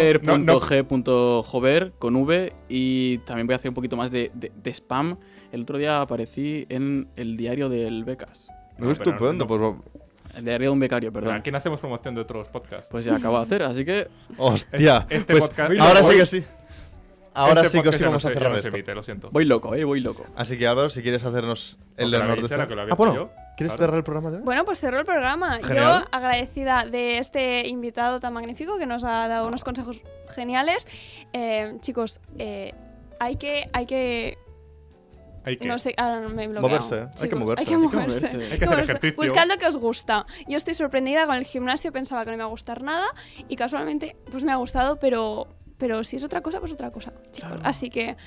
[SPEAKER 4] Iker.g.jover con V. Y también voy a hacer un poquito más de, de- de spam. El otro día aparecí en el diario del Becas.
[SPEAKER 3] No,
[SPEAKER 1] No, pero
[SPEAKER 3] estupendo,
[SPEAKER 1] no-
[SPEAKER 3] pues
[SPEAKER 4] El diario de un becario,
[SPEAKER 1] Pero
[SPEAKER 4] perdón.
[SPEAKER 1] aquí no hacemos promoción de otros podcasts.
[SPEAKER 4] Pues ya acabo de hacer, así que
[SPEAKER 3] hostia.
[SPEAKER 1] este
[SPEAKER 3] pues
[SPEAKER 1] podcast-
[SPEAKER 3] ahora sí
[SPEAKER 1] Hoy-
[SPEAKER 3] que sí. Ahora
[SPEAKER 1] Este
[SPEAKER 3] sí que
[SPEAKER 1] podcast
[SPEAKER 3] sí
[SPEAKER 1] ya no
[SPEAKER 3] vamos a
[SPEAKER 1] se- ya
[SPEAKER 3] cerrar
[SPEAKER 1] no se
[SPEAKER 3] esto.
[SPEAKER 1] emite, lo siento.
[SPEAKER 4] voy loco, eh, voy loco.
[SPEAKER 3] Así que Álvaro, si quieres hacernos el
[SPEAKER 1] que lo
[SPEAKER 3] honor de
[SPEAKER 1] avise,
[SPEAKER 3] estar-
[SPEAKER 1] que lo
[SPEAKER 3] Ah,
[SPEAKER 1] avise
[SPEAKER 3] bueno,
[SPEAKER 1] yo,
[SPEAKER 3] ¿quieres
[SPEAKER 1] claro.
[SPEAKER 3] cerrar el programa de hoy?
[SPEAKER 2] Bueno, pues cerró el programa.
[SPEAKER 3] Genial.
[SPEAKER 2] Yo agradecida de este invitado tan magnífico que nos ha dado unos consejos geniales. Eh, chicos, eh, hay que... Hay que
[SPEAKER 1] Hay que.
[SPEAKER 2] no sé, ahora me he bloqueado.
[SPEAKER 3] Moverse, ¿eh? Hay que
[SPEAKER 2] Chicos,
[SPEAKER 3] moverse.
[SPEAKER 2] Hay que
[SPEAKER 3] Hay
[SPEAKER 4] moverse.
[SPEAKER 2] moverse.
[SPEAKER 1] Hay que hacer
[SPEAKER 2] Pues,
[SPEAKER 1] ejercicio.
[SPEAKER 2] Buscad lo que os gusta. Yo estoy sorprendida con el gimnasio, pensaba que no me iba a gustar nada y casualmente pues me ha gustado, pero pero si es otra cosa, pues otra cosa, chicos. Así que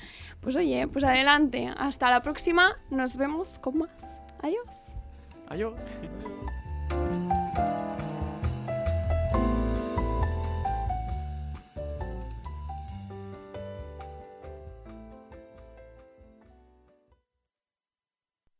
[SPEAKER 2] pues oye, pues adelante, hasta la próxima, nos vemos con más. Adiós.
[SPEAKER 4] Adiós.